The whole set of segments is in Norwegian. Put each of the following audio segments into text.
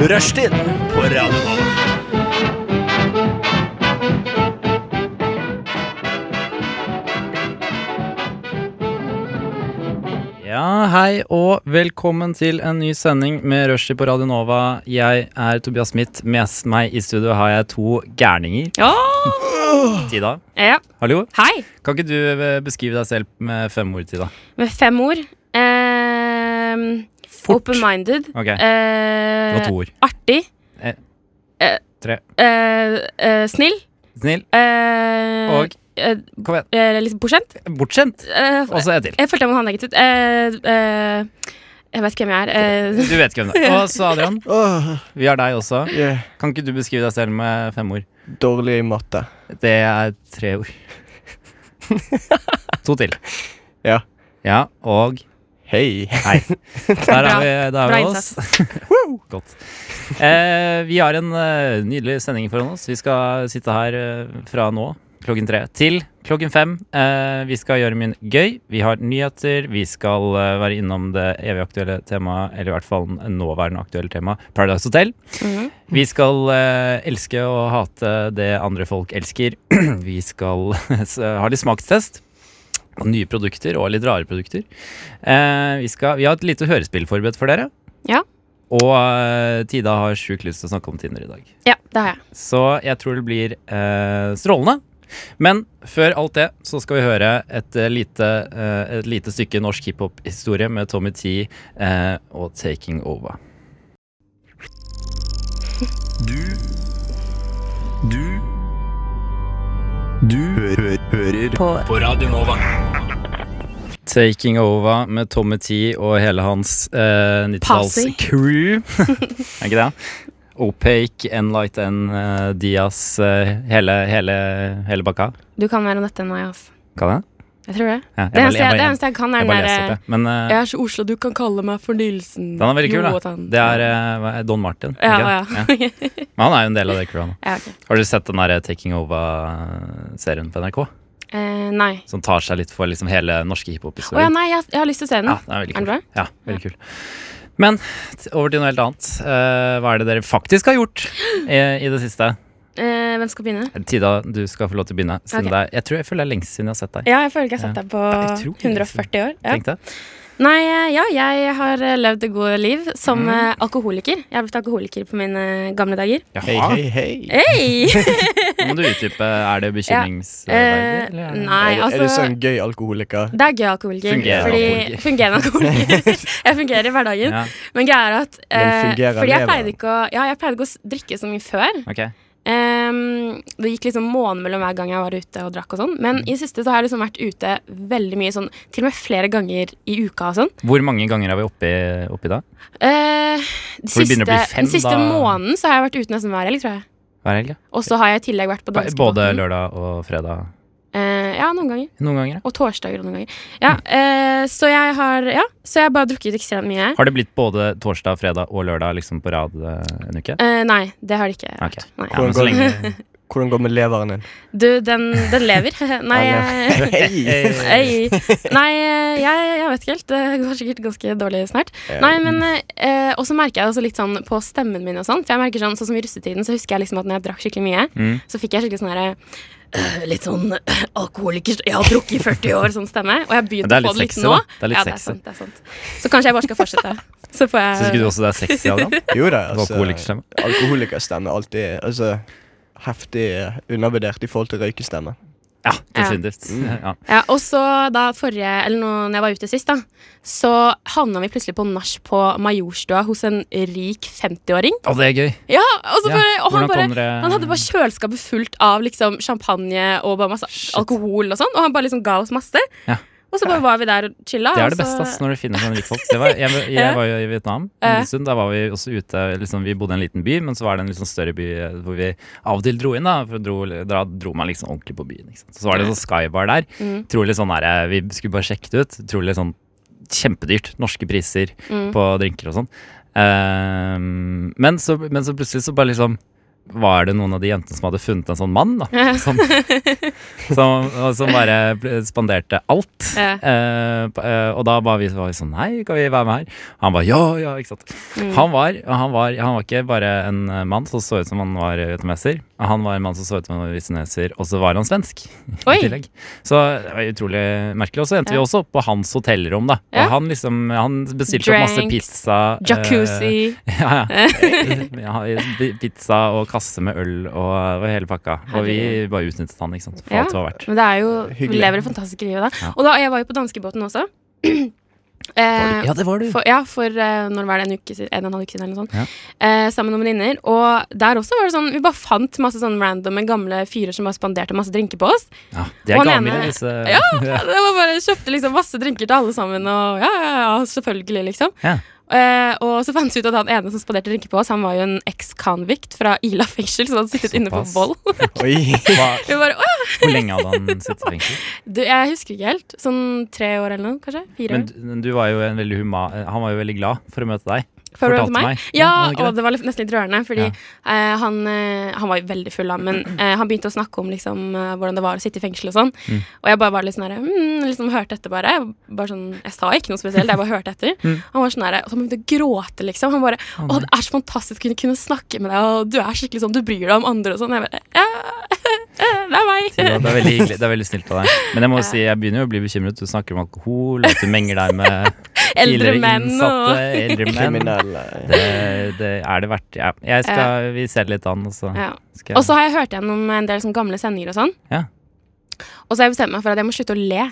Rushtid på Radio Nova. Ja, hei og velkommen til en ny sending med Rushdie på Radio Nova. Jeg er Tobias Smith. Med meg i studio har jeg to gærninger. Ja. Tida, ja. hallo. Hei. Kan ikke du eh, beskrive deg selv med fem ord, Tida? Med fem ord. Ehm, Open-minded. Ok, det Eh, var to ord. artig. Eh, Eh, tre. eh, eh, snill. Snill. Eh, Og eh, kom igjen. eh, litt bortskjemt. Bortskjemt. Eh, Og så en til. jeg følte jeg må ha en egen ut. Eh, eh, jeg vet ikke hvem jeg er. Eh, Du vet hvem det er. Og så Adrian, Åh, vi har deg også. yeah. Kan ikke du beskrive deg selv med fem ord? Dårlig i matte. Det er tre ord. To til. Ja. Ja, og Hei. Hei. Der er Bra. vi, der er Bra vi oss. innsats. Godt. Eh, vi har en eh, nydelig sending foran oss. Vi skal sitte her eh, fra nå klokken tre til klokken fem. Eh, vi skal gjøre mye gøy. Vi har nyheter. Vi skal eh, være innom det evig aktuelle temaet, eller i hvert fall nåværende aktuelle tema, Paradise Hotel. Mhm. Vi skal eh, elske og hate det andre folk elsker. vi skal s- ha litt smakstest. på Nye produkter og litt rare produkter. Eh, vi, skal, vi har et lite hørespill forberedt for dere. Ja. Og eh, Tida har sjukt lyst til å snakke om Tinder i dag. Ja, det har jeg. Så jeg tror det blir eh, strålende. Men før alt det så skal vi høre et eh, lite, eh, et lite stykke norsk hiphop-historie med Tommy T eh, og 'Taking Over'. Du Du Du hø hø hører på. Radio Nova. 'Taking Over' med Tommy T og hele hans eh, 90-talls-crew. er ikke det? Opaque, Enlight N, eh, Diaz, eh, hele, hele, hele bakka. Du kan mer om dette enn meg. ass. Kan jeg? Jeg tror det. Ja, jeg Det bare- eneste jeg jeg, bare- det eneste jeg kan, er jeg den bare leser opp, derre jeg. Men eh, Jeg er så Oslo, du kan kalle meg for Nielsen. Den er veldig kul, da. Jonathan. Det er eh, hva er det? Don Martin. Ja, ikke det? ja. Ja. Men han er jo en del av det crewet nå. ja, ok. Har du sett den der eh, Taking Over-serien på NRK? Eh, nei. Som tar seg litt for liksom hele norske Å ja, hiphop-historien. nei, jeg, jeg har lyst til å se den. ja, den er veldig Er kul. den bra? Ja, veldig kul. Men t- over til noe helt annet. Eh, hva er det dere faktisk har gjort i, i det siste? Eh, hvem skal begynne? Tida, du skal få lov til å begynne. Siden Ok. det er, jeg tror jeg føler det er lengst siden jeg har sett deg. Ja, jeg føler ikke jeg har sett deg på Ja, utrolig, 140 år. Ja. Tenk det. Nei, eh, ja, jeg har eh, levd det gode liv som eh, alkoholiker. Jeg har blitt alkoholiker på mine eh, gamle dager. Jaha. Hei, hei, Eh, hei. Hei! Nå må du utdype. Er det Eh, bekymringsverdig? eller? nei, er, er du altså sånn gøy alkoholiker? det er gøy alkoholiker. Fungerer alkoholiker. fordi, fungerende alkoholiker. jeg fungerer i hverdagen. Ja, Men greia er at eh, Men fungerer Fordi jeg lever pleide, den? ikke å, ja, jeg pleide ikke å s- drikke så mye før. ok. Ehm, det gikk liksom måned mellom hver gang jeg var ute og drakk og sånn. Men i det siste så har jeg liksom vært ute veldig mye sånn, til og med flere ganger i uka og sånn. Hvor mange ganger er vi oppi, oppi da? Eh, de For det siste, begynner å bli fem, den siste da. måneden så har jeg vært ute nesten hver helg, tror jeg. Hver helg? ja? Og så har jeg i tillegg vært på danskebåten. Både lørdag og fredag? Eh, ja, noen ganger. Noen ganger, ja. Og torsdager noen ganger. Ja, eh, så jeg har ja, så jeg har bare drukket ekstremt mye. Har det blitt både torsdag, fredag og lørdag liksom på rad eh, en uke? Eh, nei, det har det ikke vært. Ok. Nei. Ja, men så lenge Hvordan går det med leveren din? Du, den, den lever. nei, jeg, Hei. Ei. Nei, eh, jeg, jeg vet ikke helt. Det går sikkert ganske dårlig snart. Nei, men eh, Og så merker jeg også litt sånn på stemmen min og sånn. For jeg merker sånn, sånn som i russetiden, så husker jeg liksom at når jeg drakk skikkelig mye, Mm. så fikk jeg skikkelig sånn herre eh, Litt sånn eh, alkoholiker Jeg har drukket i 40 år, sånn stemme. Og jeg Men det begynte er å få litt det litt sexy, nå. da. Det er litt ja, det er sexy. sant, det er sant. Så kanskje jeg bare skal fortsette. Så får jeg Syns ikke du også det er sexy, Adam? Jo da, altså. Alkoholikerstemme? Alkoholikerstemme er alltid altså, heftig eh, undervurdert i forhold til røykestemme. Ja, definitivt. Ja. Ja, og så da forrige, eller nå når jeg var ute sist da Så havna vi plutselig på nach på Majorstua Hos en rik 50-åring Og det er gøy. Ja, og, så Ja, bare, og han, hvordan bare, kom dere- han hadde bare kjøleskapet fullt av liksom, champagne og bare masse Shit. alkohol og sånn. Og han bare liksom ga oss masse. Ja. Og så bare var vi der og chilla. Det og er det så- beste, ass, når du finner sånne rikfolk. Det var, jeg, jeg var jo i Vietnam altså. Ja. en stund. Da var vi også ute liksom, Vi bodde i en liten by, men så var det en litt sånn større by eh, hvor vi av og til dro inn. Da for dro, da dro man liksom ordentlig på byen. Ikke sant? Så var det en sånn skybar der. Mm. Trolig sånn der, eh, Vi skulle bare sjekke det ut. Trolig sånn kjempedyrt. Norske priser Mm. på drinker og sånn. Ehm, men, så, men så plutselig så bare liksom var det noen av de jentene som hadde funnet en sånn mann, da. Som, som, og som bare pl- spanderte alt. Ja. Eh, på- eh, og da var vi, var vi sånn Nei, kan vi være med her? Han bare ja, ja, ikke sant. Mm. Han, var, han, var, han var ikke bare en eh, mann som så ut som han var vietnameser. Han var en mann som så ut som han var vietnameser, og så var han svensk. Oi. I tillegg. Så det var utrolig merkelig. Og så endte Ja. vi også opp på hans hotellrom, da. Ja. Og han liksom Han bestilte opp masse Drinks, pizza. eh, Jacuzzi. ja, ja. Eh. ja. Pizza og kasse med øl og, og hele pakka. Og vi bare utnyttet han, ikke sant. For Ja. alt det var verdt. Men det er jo Vi Hyggelig. lever det fantastiske livet da. Ja. Og da, jeg var jo på danskebåten også. Eh, Ja, det var du. for, ja, for eh, når var det en uke siden? En og en halv uke siden eller noe sånt. Ja. Eh, sammen med noen venninner. Og der også var det sånn Vi bare fant masse sånn randome gamle fyrer som bare spanderte masse drinker på oss. Ja, de er Og han gamle, ene- disse. Ja, det var bare Kjøpte liksom masse drinker til alle sammen, og ja, ja, ja selvfølgelig, liksom. Ja. Eh, og så fant vi ut at han ene som spanderte drinker på oss, han var jo en eks-convict fra Ila fengsel, som hadde sittet inne på Såpass. vold. Oi. Hva, Vi bare, «Å, hvor lenge hadde han sittet i fengsel? du, jeg husker ikke helt. Sånn tre år eller noe, kanskje? Fire Men år. du, men du var jo en veldig huma, eh, han var jo veldig glad for å møte deg. Før du fortalte møtte meg. Ja, Ja, var det ikke og det var litt- nesten litt rørende, fordi Ja. eh, han, eh, han var jo veldig full, da, men eh, han begynte å snakke om liksom, eh, hvordan det var å sitte i fengsel og sånn. Mm. Og jeg bare var litt sånn herre mm, liksom hørte etter, bare. Jeg, bare sånn, jeg sa ikke noe spesielt, jeg bare hørte etter. Mm. Han var sånn herre, og så han begynte å gråte, liksom. Han bare Å, det er så fantastisk å kunne, kunne snakke med deg, og du er skikkelig sånn, du bryr deg om andre og sånn. Jeg bare ja, Det er meg. Det er veldig hyggelig, det er veldig snilt av deg. Men jeg må jo si, jeg begynner jo å bli bekymret. Du snakker om alkohol, at du menger deg med Eldre tidligere menn innsatte, og eldre menn. Kriminelle. Det, det er det verdt. Ja. Jeg skal, vi ser litt an, og så ja. skal Og jeg så har jeg hørt gjennom en del sånn gamle sendinger og sånn. Ja. Og så har jeg bestemt meg for at jeg må slutte å le.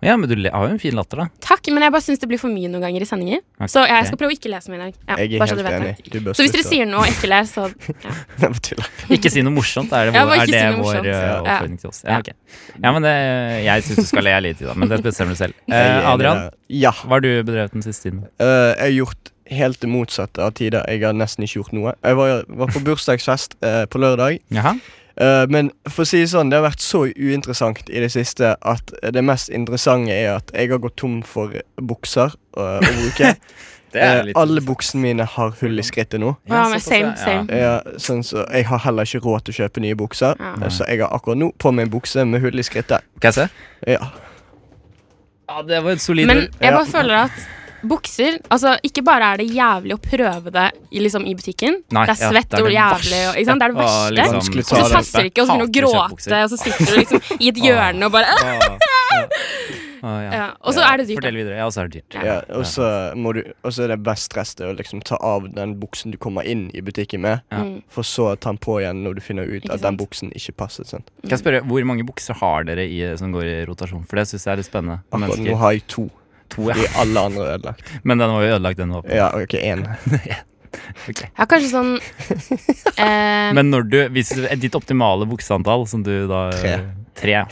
Ja, men du le- har jo en fin latter, da. Takk, men jeg bare syns det blir for mye noen ganger i sendinger. Ok. Så jeg skal prøve å ikke lese mye i dag. Ja, Jeg er bare så helt du vet enig. det. Du bør Så hvis dere slutte. sier noe og ikke les, så ja. Nei, bare tuller. Ikke si noe morsomt, er det Ja, vår, bare er ikke det si noe vår morsomt. eh, Ja. oppfordring til oss? Ja, ok. ja men det, jeg syns du skal le litt i dag, men det bestemmer du selv. Eh, Jeg er enig Adrian, der. Ja. hva har du bedrevet den siste tiden? Eh, jeg har gjort helt det motsatte av tider. Jeg har nesten ikke gjort noe. Jeg var, var på bursdagsfest eh, på lørdag. Jaha? Eh, men for å si det sånn, det har vært så uinteressant i det siste at det mest interessante er at jeg har gått tom for bukser eh, å bruke. Eh, alle buksene mine har hull i skrittet nå. Ja, men same, same. Ja, sånn så jeg har heller ikke råd til å kjøpe nye bukser, Ja. eh, så jeg har akkurat nå på meg en bukse med hull i skrittet. Kan jeg se? Ja. Ja, det var et solid Men ord. jeg bare Ja. føler at bukser Altså, ikke bare er det jævlig å prøve det i, liksom, i butikken. Nei, det er ja, svett det er og det jævlig og ikke sant? Det er det Ja, verste. liksom, og Vanskelig å så ta det. passer det ikke, og så begynner du å Hater gråte, og så sitter du liksom i et hjørne og bare Å, ja. Å, ja. ja. Og så er det dyrt. Fortell videre. Ja, og så er det dyrt. Ja, og så må du Og så er det best stress det å liksom ta av den buksen du kommer inn i butikken med, Ja. Mm. for så å ta den på igjen når du finner ut Ikke at den sant? buksen ikke passet. Sant? Kan jeg spørre, Hvor mange bukser har dere i, eh, som går i rotasjon? For det syns jeg er litt spennende. for Akkurat nå mennesker. har jeg to. To, ja. De alle andre er ødelagt. Men den var jo ødelagt, den var på. Ja, ok, én. Ok. Ja, kanskje sånn eh, Men når du, hvis du, ditt optimale bukseantall, som du da Tre. Tre.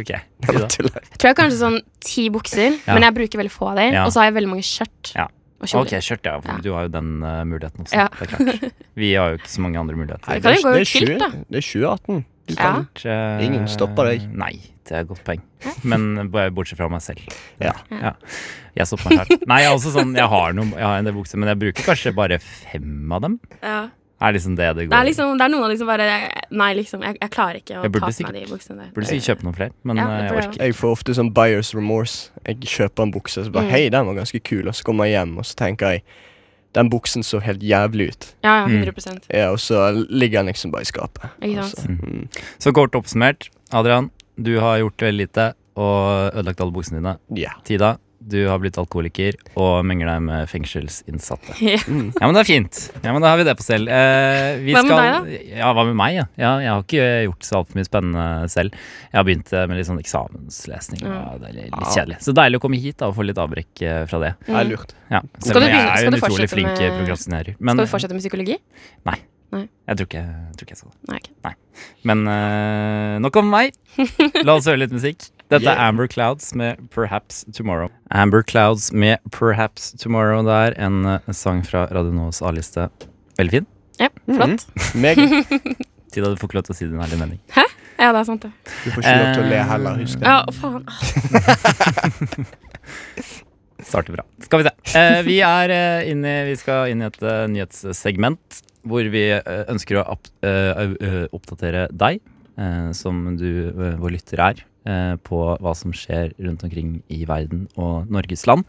Ok. Du da? Tuller. Jeg tror jeg kanskje sånn ti bukser, Ja. men jeg bruker veldig få av dem. Ja. Og så har jeg veldig mange skjørt Ja. og Ok, kjoler. skjørt, ja. For Ja. du har jo den eh, muligheten også. Ja. Det er klart. Vi har jo ikke så mange andre muligheter. Det kan jo gå det, i er kilt, 20 da. det er 2018. Du Ja. kan Eh, Ingen stopper deg. Nei, det er et godt poeng. Men bare bortsett fra meg selv. Ja. ja. Jeg stopper meg selv. Nei, jeg, er også sånn, jeg har noen, jeg har en del bukser, men jeg bruker kanskje bare fem av dem. Ja. Er liksom det det går Det, er liksom, det er noen av de som bare Nei, liksom, jeg, jeg klarer ikke å Jeg ta burde på meg de sikkert- buksene der. Burde sikkert kjøpe noen flere, men Ja, eh, det jeg burde orker ikke. Jeg får ofte sånn buyers remorse. Jeg kjøper en bukse og så bare Mm. Hei, den var ganske kul. Og så kommer jeg hjem og så tenker jeg Den buksen så helt jævlig ut. Ja, ja, Mm. 100 Ja, og så ligger den liksom bare i skapet. Ikke Og Altså, sant? så- mm. Så kort oppsummert, Adrian, du har gjort veldig lite og ødelagt alle buksene dine. Ja. Mm. Tida, du har blitt alkoholiker og menger deg med fengselsinnsatte. Ja. Ja, men det er fint. Ja, men Da har vi det på selv. Eh, vi Hva med skal- Ja, hva med meg? Ja. ja jeg har ikke gjort så altfor mye spennende selv. Jeg har begynt eh, med litt sånn eksamenslesning. Ja. og det er litt Ah. litt kjedelig. Så deilig å komme hit da, og få litt avbrekk eh, fra det. Det er lurt. Ja, Skal selv om du jeg er begynne- skal jo en du utrolig fortsette flink med- eh, prokrastinerer. Men Skal du fortsette med psykologi? jeg tror ikke jeg, tror ikke jeg skal det. Nei, ok. Men eh, nok om meg. La oss høre litt musikk. Dette er Yeah. Amber Clouds med 'Perhaps Tomorrow'. Amber Clouds med 'Perhaps Tomorrow' der. En eh, sang fra Radio Novas A-liste. Veldig fin. Ja, Mm. Mm. flott. Meget. Tida, du får ikke lov til å si din ærlige mening. Ja, det er sant, det. Du får ikke lov til å le heller, husk det. Ja, å, faen. Starter bra. Skal vi se. Eh, vi, er, eh, inne, vi skal inn i et eh, nyhetssegment hvor vi eh, ønsker å opp, eh, au- eh, oppdatere deg, eh, som du, eh, vår lytter, er, eh, på hva som skjer rundt omkring i verden og Norges land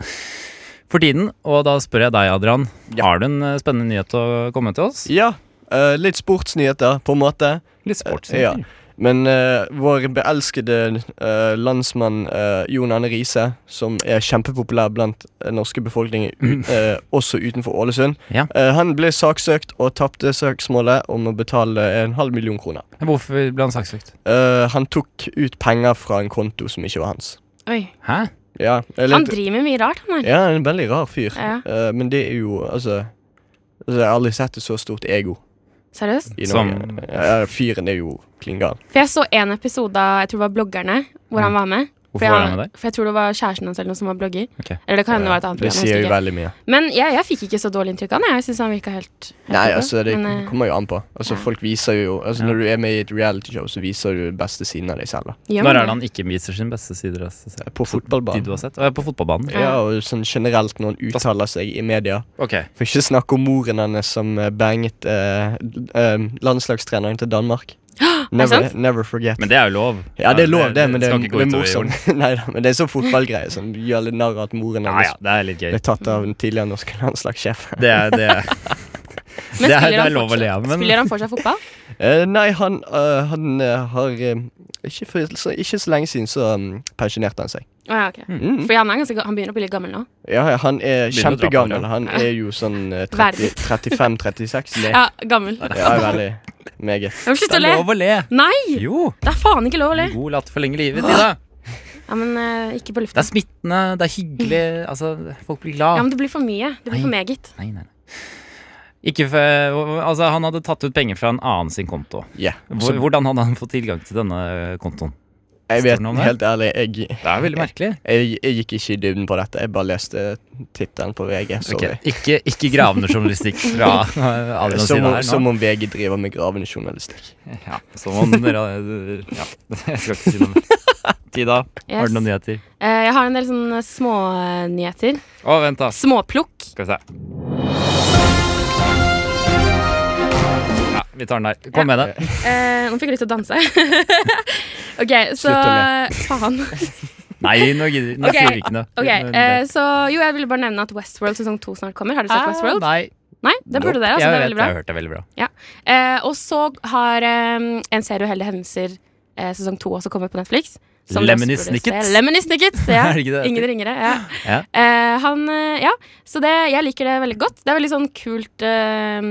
for tiden. Og da spør jeg deg, Adrian, har du en eh, spennende nyhet å komme til oss? Ja, eh, litt sportsnyheter, på en måte. Litt sports. Ja. Men eh, vår beelskede eh, landsmann eh, Jon Arne Riise, som er kjempepopulær blant den norske befolkningen, Mm. u- eh, også utenfor Ålesund, Ja. eh, han ble saksøkt og tapte søksmålet om å betale en halv million kroner. Hvorfor ble han saksøkt? Eh, han tok ut penger fra en konto som ikke var hans. Oi. Hæ? Ja, eller- Han driver med mye rart, han her. ja, han er en veldig rar fyr. Ja. Eh, men det er jo altså, altså Jeg har aldri sett et så stort ego Seriøst. i Som- Norge. Ja, fyren er jo klin gal. For jeg så en episode av jeg tror det var bloggerne, hvor han var med. Mm. Hvorfor For jeg, var han med der? For jeg tror det var kjæresten hans eller noe som var blogger. Ok. Eller det kan hende det var et annet Det program. jeg sier jo husker ikke. veldig mye. Men jeg, jeg fikk ikke så dårlig inntrykk av han. Jeg syns han virka helt, helt Nei, ok. altså, det Men, eh, kommer jo an på. Altså, ja. folk viser jo altså, Ja. Når du er med i et realityshow, så viser du det beste siden av deg selv. Da. gjør man Når er det? det han ikke viser sin beste side? av seg selv? På De du fotballbanen. har sett? Å, ja, På fotballbanen? Ja, og sånn generelt når han uttaler seg i media. Ok. For ikke snakke om moren hennes som eh, banget eh, d- eh, landslagstreneren til Danmark. Never, sant? never forget. Men det er jo lov. ja, det er lov, det, men det, skal er- ikke gå det er utover jorden. morsomt. Neida, men det er sånn fotballgreie som gjør litt narr av at moren Ja, hennes ja, det er litt gøy. ble tatt av den tidligere norske landslagssjef. Det er, det er, Men det er, spiller det han er lov å le av, fortsatt- men Spiller han fortsatt fotball? Eh, nei, han, eh, han eh, har eh, ikke, for, så, ikke så lenge siden så um, pensjonerte han seg. Å, ja, ok. Mm. Fordi han, er ganske, ga- han begynner å bli litt gammel nå. Ja, ja, han Begynner å er dra på kjempegammel. det. Han er jo sånn eh, 30 Verden. 35-36. Ja, gammel. Ja, veldig meget. Ja, men Slutt det å er le! lov å le. Nei! Jo. Det er faen ikke lov å le. En god latt forlenger livet, Ida. Ja, men eh, ikke på Det lufta. er smittende, det er hyggelig. Altså, folk blir Ja, glad. men det blir for mye. Det blir for meget. Nei, nei, nei. Ikke for, altså, han hadde tatt ut penger fra en annen sin konto. Ja. Hvor- Så, Hvordan hadde han fått tilgang til denne eh, kontoen? jeg står vet det noe om det? helt ærlig, jeg, Det er veldig merkelig. jeg, jeg gikk ikke i dybden på dette. Jeg bare leste tittelen på VG. Sorry. Ok, Ikke, ikke gravende journalistikk fra eh, Adrians side Som, om- her som nå. om VG driver med gravende journalistikk. Ja, som om dere Ja, jeg skal ikke si noe mer. Tida, har du noen nyheter? Eh, jeg har en del sånne smånyheter. Å, vent, da. Småplukk. Skal vi se. Ja, vi tar den der. Kom med det. Eh, nå fikk jeg lyst til å danse. ok, så Faen. Nei, nå gidder vi nå Ok, sier vi ikke noe. Ok, eh, så jo, jeg ville bare nevne at Westworld sesong to snart kommer. Har du sett Ah. Westworld? Nei, Ah, Nei, det burde dere. altså, jeg det er vet, veldig bra. Jeg har hørt det er veldig bra. Eh, og så har eh, En serie uheldige hendelser eh, sesong to også kommet på Netflix. som dere Lemony også burde Snicket. se. Lemony Snicket, ja. Er det ikke det det Ingen ringere. Ja. Ja. Eh, han, eh, ja. Så det, jeg liker det veldig godt. Det er veldig sånn kult eh,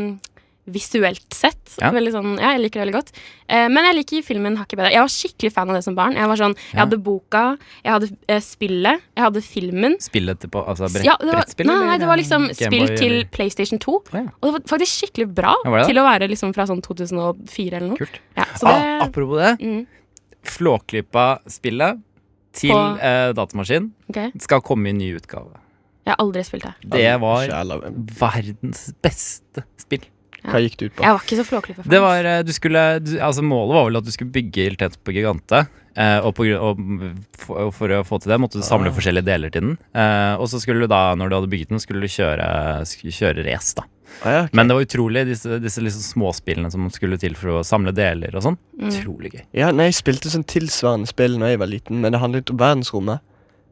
visuelt sett. Ja. Veldig sånn, ja, jeg liker det veldig godt. Eh, men jeg liker filmen hakket bedre. Jeg var skikkelig fan av det som barn. Jeg, var sånn, jeg Ja. hadde boka, jeg hadde eh, spillet, jeg hadde filmen. Spill etterpå, altså brett, Ja, det var, brettspill? nei, eller nei, det var liksom Gameboy, spill til eller? PlayStation 2. Å, ja. Og det var faktisk skikkelig bra Ja, var det det? til å være liksom fra sånn 2004 eller noe. Kult. Ja, så det, ah, apropos det. Mm. Flåklypa-spillet til På- eh, datamaskin ok. skal komme i ny utgave. Jeg har aldri spilt det. Det var Kjære- verdens beste spill. Hva gikk det ut på? Jeg var ikke så flåklypa. Det var, eh, du skulle, du, altså Målet var vel at du skulle bygge Iltet på Gigante. Eh, og, på, grunn- og for, og for å få til det måtte du samle forskjellige deler til den. Eh, og så skulle du da, når du hadde bygget den, skulle du kjøre, sk- kjøre race, da. Ah, ja, ok. Men det var utrolig, disse, disse liksom småspillene som skulle til for å samle deler og sånn. Mm. Utrolig gøy. ja, nei, jeg spilte sånn tilsvarende spill da jeg var liten, men det handlet om verdensrommet.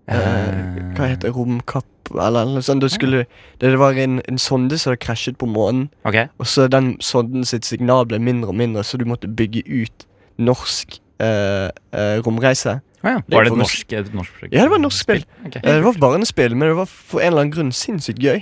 Eh, hva heter det? Romkapp eller noe sånt. Da skulle, det det var en, en sonde som hadde krasjet på månen, Ok, og så den sonden sitt signal ble mindre og mindre, så du måtte bygge ut norsk eh, eh, romreise. Å ja. er Var det for et norsk- norsk, et norsk prosjekt? Ja, det var norsk spill. Ok. Eh, det var barnespill, men det var for en eller annen grunn sinnssykt gøy.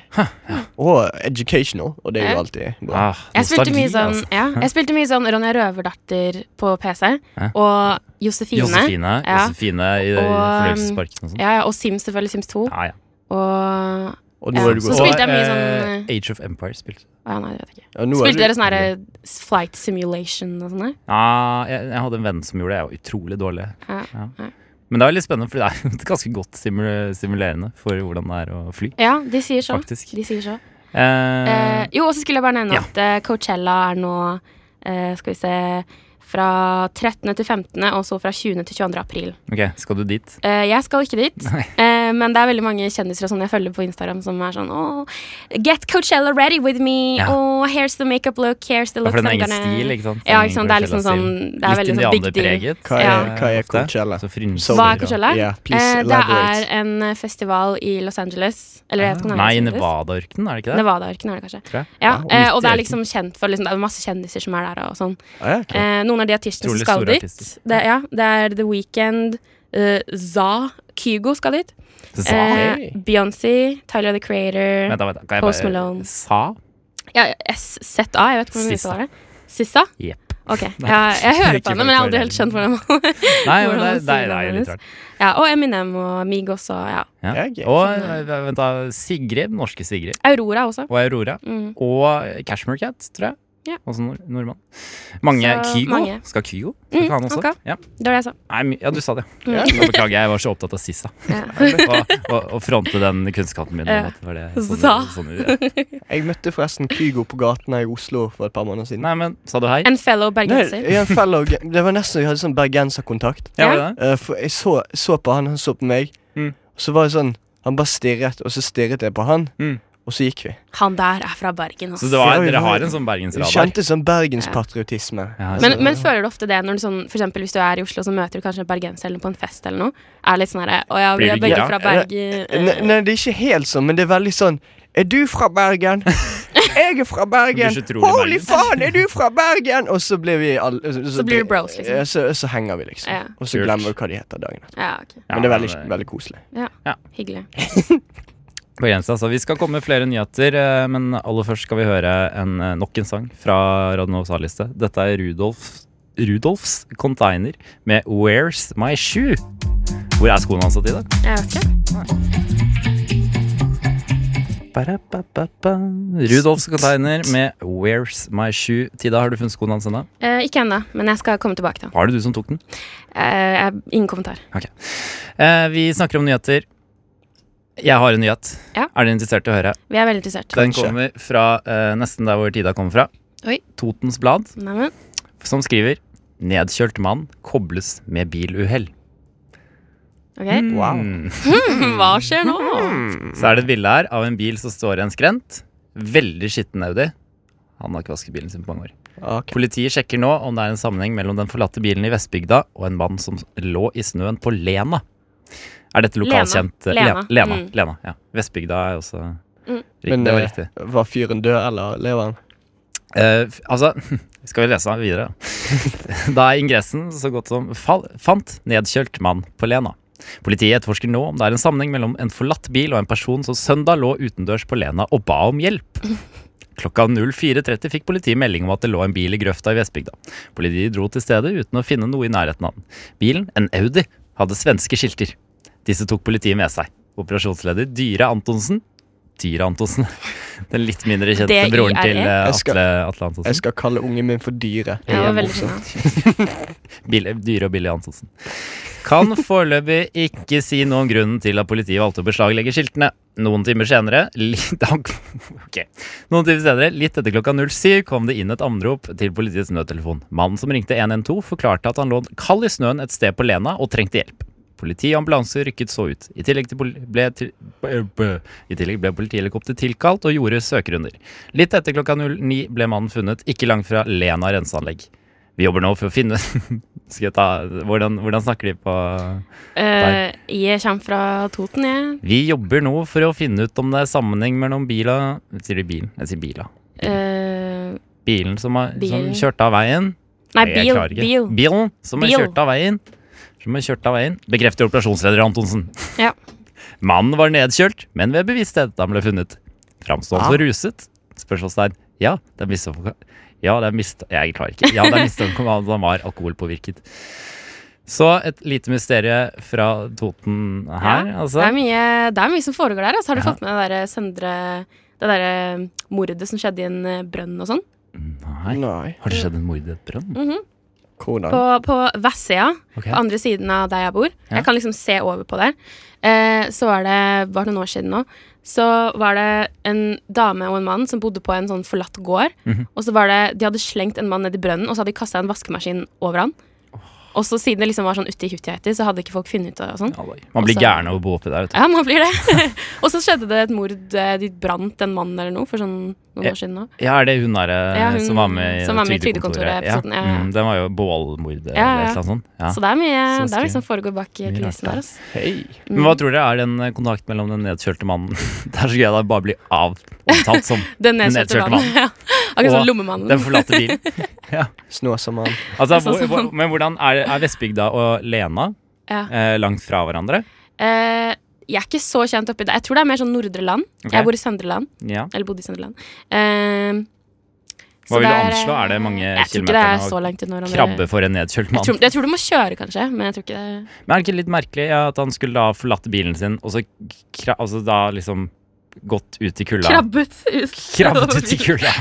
Og educational, og det er jo alltid bra. Ah, Jeg spilte, nostalgi, mye sånn, altså. ja, jeg spilte mye sånn Ronja Røverdatter på PC, Ja. og Josefine. Josefine, Ja. Josefine i Og, um, fornøyelsesparken og sånn. Ah, Ja, ja, og Sims, selvfølgelig. Sims 2. Ja, ja. Og Og nå Ja, er du så god. spilte jeg Og, mye eh, sånn, Age of Empires spilte Å ja, nei, det vet jeg ikke. Ja, nå er Spilte du- dere sånn her Flight Simulation og sånn der? Ja, jeg, jeg hadde en venn som gjorde det. Jeg var utrolig dårlig. Ja, Ja. ja. Men det er litt spennende, for det er jo ganske godt simul- simulerende for hvordan det er å fly, Ja, de sier så. faktisk. De sier så. Sånn. Eh, Eh, jo, og så skulle jeg bare nevne ja. at eh, Coachella er nå eh, Skal vi se Fra 13. til 15., og så fra 20. til 22. april. ok, skal du dit? Eh, jeg skal ikke dit, Nei. eh, Eh, men det er veldig mange kjendiser og sånn jeg følger på Instagram som er sånn oh, Get Coachella ready with me! Ja. Oh, here's the makeup look, here's the Ja, look For den er I'm egen gonna-" stil, ikke sant? Ja, Den ikke sant? Det er liksom sånn Coachella-stilen. Det er veldig sånn big Litt deal. indianerpreget. eh, Hva er, Ja. hva er ofte. Coachella? Så frynser. Så- Hva er Coachella? Yeah, please eh, det er elaborate. en eh, festival i Los Angeles. Eller jeg vet ikke om det er Nei, Los Angeles. Nevada-ørkenen, er det ikke det? Nevada-ørkenen er det kanskje. Tror jeg. Ja, Wow, eh, og det er midt i liksom kjent for liksom, Det er masse kjendiser som er der og sånn. Ah, ja, ok. Eh, noen av de artistene som Utrolig skal store dit. artister. Det, ja, det er The Weeknd, eh, Za, Kygo skal dit. Sa. Eh, Beyoncé, Tyler the Creator Vent da, vent da. Kan jeg Post bare- Malone. Sa? ja, SZA, jeg vet ikke hvordan vi Sissa. uttaler det. Sissa? Jepp. Ok, ja, Jeg hører Ikke på henne, men jeg har aldri helt skjønt hvordan man Nei, men Hvordan det, sier det, er- det er man jo litt hennes? rart. ja, Og Eminem og Migos og ja. Ja. Ja, gøy. Og eh, vent da, Sigrid, norske Sigrid, Aurora også. og Aurora, Mm. og Cashmere Cat, tror jeg. Ja. Også nord nordmann. Mange Så Kygo. mange. Skal Kygo? Skal Mm, han også? han skal. Ja. Det var det jeg sa. Nei, my- ja, du sa det. Ja. Nå Beklager, jeg var så opptatt av Sissa. Ja. Og, og, og fronte den kunnskapen min. om Ja. at det var det, sånn- Sa. sånn- ja. Jeg møtte forresten Kygo på gaten her i Oslo for et par måneder siden. Nei, men sa du hei? En fellow bergenser. Nei, jeg er en fellow, det var nesten vi hadde sånn bergenserkontakt. Ja, var det det? Eh, for jeg så, så på han, han så på meg. Mm. Og så var det sånn Han bare stirret, og så stirret jeg på han, Mm. og så gikk vi. Han der er fra Bergen. ass. Så det var, Ja, vi dere var- har en sånn Jeg bergensradar? kjente sånn bergenspatriotisme. Ja, altså. Men, men føler du ofte det når du sånn, for eksempel, hvis du er i Oslo, så møter du kanskje en bergenser eller noe på en fest eller noe? Er det litt sånn herre Å ja, vi Blir er du begge gira? fra Bergen. Nei, eh, nei, det er ikke helt sånn, men det er veldig sånn Er du fra Bergen? Jeg er fra Bergen! Du blir så utrolig Holy Bergen. faen, er du fra Bergen? Og så blir vi alle Så, Så blir du bros, liksom. Ja, Så, så henger vi, liksom. Ja. Og så Kult. glemmer vi hva de heter dagen etter. Ja, ok. Ja, Men det er veldig, men- veldig koselig. Hyggelig. På grensa, så vi skal komme med flere nyheter, eh, men aller først skal vi høre en, eh, nok en sang fra Radio Novas A-liste. Dette er Rudolf, Rudolfs Container med Where's My Shoe? Hvor er skoene hans i dag? Jeg vet ikke. Ba-da-ba-ba-ba. Rudolfs Container med Where's My Shoe? Tida, har du funnet skoene hans ennå? Eh, ikke ennå, men jeg skal komme tilbake til han. Var det du som tok den? Eh, jeg- ingen kommentar. Eh, vi snakker om nyheter. Jeg har en nyhet. Ja. Er du interessert i å høre? Vi er veldig interessert. Den Kanskje. kommer fra eh, nesten der hvor Tida kommer fra. Oi. Totens Blad, Neimen, som skriver 'Nedkjølt mann kobles med biluhell'. ok. Wow. Mm. Hva skjer nå? Så er det et bilde her av en bil som står i en skrent. Veldig skitten Audi. Han har ikke vasket bilen sin på mange år. Ok. Politiet sjekker nå om det er en sammenheng mellom den forlatte bilen i Vestbygda og en mann som lå i snøen på Lena. Er dette lokalkjent? Lena. Le- Lena. Mm. Lena ja. Vestbygda er også Mm. Riktig, Men, Det var eh, riktig. Var fyren død, eller lever han? Eh, f- altså, skal vi lese den videre? da er ingressen så godt som fall, fant nedkjølt mann på Lena. Politiet etterforsker nå om det er en sammenheng mellom en forlatt bil og en person som søndag lå utendørs på Lena og ba om hjelp. Klokka 04.30 fikk politiet melding om at det lå en bil i grøfta i Vestbygda. Politiet dro til stedet uten å finne noe i nærheten av den. Bilen, en Audi, hadde svenske skilter. Disse tok politiet med seg. Operasjonsleder Dyre Antonsen Dyre Antonsen. Den litt mindre kjente D-I-R-E. broren til eh, Jeg skal- Atle, Atle Jeg Antonsen. skal kalle ungen min for Dyre. Ja, det var Ja, veldig fint. Billy, dyre og billig Antonsen. Kan foreløpig ikke si noe om grunnen til at politiet valgte å beslaglegge skiltene. Noen timer senere, litt, ok. Noen timer senere, litt etter klokka 07, kom det inn et anrop til politiets nødtelefon. Mannen som ringte 112, forklarte at han lå kald i snøen et sted på Lena og trengte hjelp. Politi og ambulanse rykket så ut. I tillegg, til poli ble til bø- bø. I tillegg ble politihelikopter tilkalt og gjorde søkerunder. Litt etter klokka 09 ble mannen funnet ikke langt fra Lena renseanlegg. Vi jobber nå for å finne Skal jeg ta Hvordan, hvordan snakker de på Eh, jeg kommer fra Toten, jeg. Vi jobber nå for å finne ut om det er sammenheng mellom bila Sier de bilen? Jeg sier bila. Eh, Bilen som har som Bilen. kjørte av veien. nei, Nei, jeg bil. klarer ikke. Bil. Bilen som har Bil. kjørt av veien. Som har kjørt av veien. Bekrefter operasjonsleder Antonsen. Ja. Mannen var nedkjølt, men ved bevissthet da han ble funnet. Framstående Ah. som ruset? Spørsmålstegn. Ja, det er mistanke Ja, det er mist... Jeg klarer ikke. Ja, det er mistanke om at han var alkoholpåvirket. Så et lite mysterium fra Toten her, Ja, altså. Det er mye, det er mye som foregår der. Altså. Har du Ja. fått med det derre Søndre Det derre eh, mordet som skjedde i en eh, brønn og sånn? Nei. Nei. Har det skjedd en mord i et brønn? Mm. Hvordan? På, på Vestsida. Ok. på andre siden av der jeg bor. Ja. Jeg kan liksom se over på der. Eh, så var det var det noen år siden nå. Så var det en dame og en mann som bodde på en sånn forlatt gård. Mhm. Og så var det, De hadde slengt en mann ned i brønnen, og så hadde de kasta en vaskemaskin over han. Og så siden det liksom var sånn uti hutti heiti, så hadde ikke folk funnet ut av det og sånn. Alloi. Man blir Også- gæren av å bo oppi der. Vet du. Ja, man blir det. og så skjedde det et mord. eh, De brant en mann eller noe for sånn noen år siden nå. Ja, er det hun der eh, Ja, hun som var med i som var med i Trygdekontoret? Ja. Trygdekontoret-episoden, ja. Mm, den var jo bålmord eller Ja, ja. et eller annet sånt. Ja. Så det er mye Så det er skri- liksom foregår bak i mye rart der. kulissene der. Altså. Men hva tror dere er den eh, kontakt mellom den nedkjølte mannen Det er så gøy at det bare blir av omtalt som Den Den nedkjørte nedkjørte mannen. Ja. Akkurat som Og lommemannen. den forlatte bilen. Snåsamann. Altså, Sånn hvor, som hvor, men hvordan er, er Vestbygda og Lena Ja. eh, langt fra hverandre? Eh, jeg er ikke så kjent oppi det. Jeg tror det er mer sånn nordre land. Ok. Jeg bor i Søndre land. Ja. Eller bodde i Søndre land. Eh, Hva så vil du det er, anslå? Er det mange jeg tror ikke det kilometer er nå? så langt unna hverandre. Krabbe for en nedkjølt Jeg mann. tror, jeg tror du må kjøre, kanskje. Men jeg tror ikke det Men er det ikke litt merkelig ja, at han skulle da forlatt bilen sin, og så kra altså da liksom gått ut i kulda? Krabbet ut. Krabbet ut i kulda!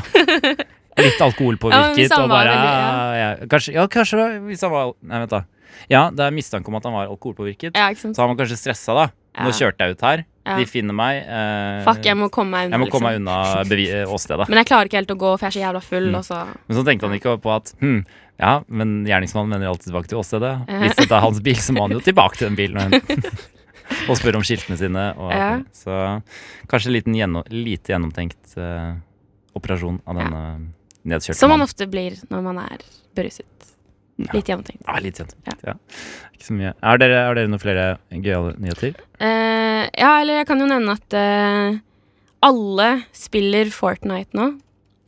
Litt Ja, men hvis alkoholpåvirket han og var bare veldig- ja. Kanskje, ja, kanskje hvis han var Nei, vent, da. Ja, det er mistanke om at han var alkoholpåvirket. Ja, ikke sant. Så han var kanskje stressa, da. Nå Ja. kjørte jeg ut her. Ja. De finner meg. Eh, Fuck, jeg må komme meg unna. jeg må komme meg liksom. unna bevi eh, åstedet. Men jeg klarer ikke helt å gå, for jeg er så jævla full. Mm. Og så Men så tenkte han ikke på at hm, ja, men gjerningsmannen vender alltid tilbake til åstedet. Hvis dette er hans bil, så må han jo tilbake til den bilen og hente den. Og spørre om skiltene sine. Og, Ja. Så kanskje en liten gjennom, lite gjennomtenkt eh, operasjon av denne nedkjørte Som man mannen. ofte blir når man er beruset. Litt gjennomtenkt. Ja, litt kjent. Ja. Ja. Ikke så mye. Er dere, er dere noen flere gøyale nyheter? Eh, ja, eller jeg kan jo nevne at eh, alle spiller Fortnite nå.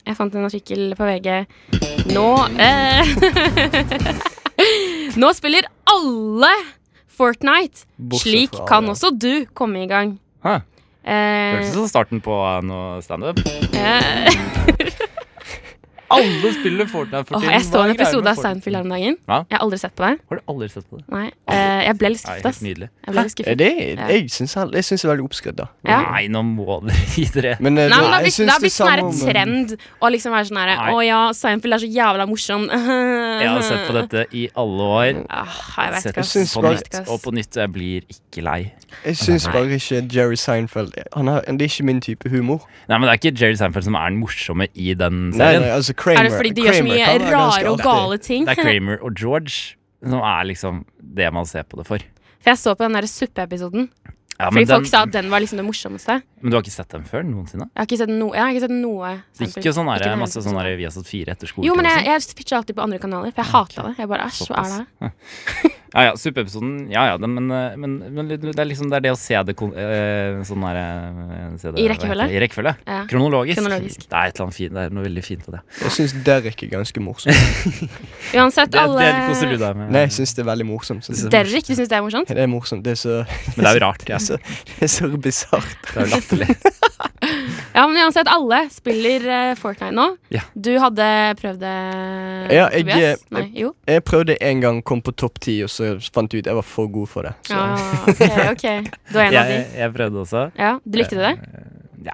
Jeg fant en artikkel på VG Nå eh, Nå spiller alle Fortnite! Bortsett Slik fra kan alle. også du komme i gang. Hæ? Det Eh, hørtes ut som starten på eh, noe standup. eh, Alle spiller Fortnite for åh, tiden. jeg så Hva er en greia med episode av Fortnite? Seinfeld her om dagen. Hva? Jeg har aldri sett på det. Har du aldri sett på det? Nei. Eh, jeg ble Nei, litt skuffet, helt ass. nydelig. Jeg ble litt Er skuffet. Eh, det, Ja. jeg syns han- jeg syns det er veldig oppskrytt, da. Ja. Nei, nå må dere gi dere. Men, Nei, men Det eh, nei, har jeg blitt, syns det har det blitt sånn her samme om trend å liksom være sånn her Nei. Å ja, Seinfeld er så jævla morsom. Jeg Jeg har sett på dette i alle år. Ah, jeg vet Sett ikke, ass. synes på bare- nytt og på nytt. Jeg blir ikke lei. Jeg syns bare ikke Jerry Seinfeld han har, Det er ikke min type humor. Nei, men Det er ikke Jerry Seinfeld som er den morsomme i den Nei, nei, serien. altså Kramer Er det fordi de gjør så Kramer mye kan være ganske rare og artig. gale ting? Det er Kramer og George som er liksom det man ser på det for. For jeg så på den der suppeepisoden. Ja, Fordi men, den, folk sa at den var liksom det morsomste. men du har ikke sett dem før noensinne? Jeg har ikke sett, no, jeg har ikke sett noe. Det Seinfeld. gikk jo sånn Ikke der, den masse hele sånn episoden. der, vi har satt fire etter skolen. Jo, men og sånn. jeg, jeg pitcha alltid på andre kanaler, for jeg hata det. Jeg bare æsj, hva er det? her? Ja ja, suppeepisoden. Ja ja, den- men, eh, men, men det er liksom det, er det å se det kon- eh, sånn der eh, se det, hva I heter rekkefølge? det? I rekkefølge. Ja. Kronologisk. Kronologisk. Det er et eller annet fint, det er noe veldig fint ved det. Jeg syns Derek er ganske morsom. Mm. Uansett, Det, det koser du alle deg med. liksom. Nei, jeg syns det er veldig morsomt. synes jeg. Derrik, du syns det er morsomt? Det er morsomt. Det er så, Men det er jo rart. Ja. så, det er så bisart. Det er jo latterlig. Ja, men uansett, alle spiller eh, Fortnite nå. Ja. eh, Du hadde prøvd det, Ja, jeg- Tobias? Nei, jo. Jeg prøvde en gang, kom på topp ti, og så fant jeg ut jeg var for god for det. Så. Ah, ok, ok. Du er en av de. Jeg, jeg prøvde også. Ja, Du likte det? Ja,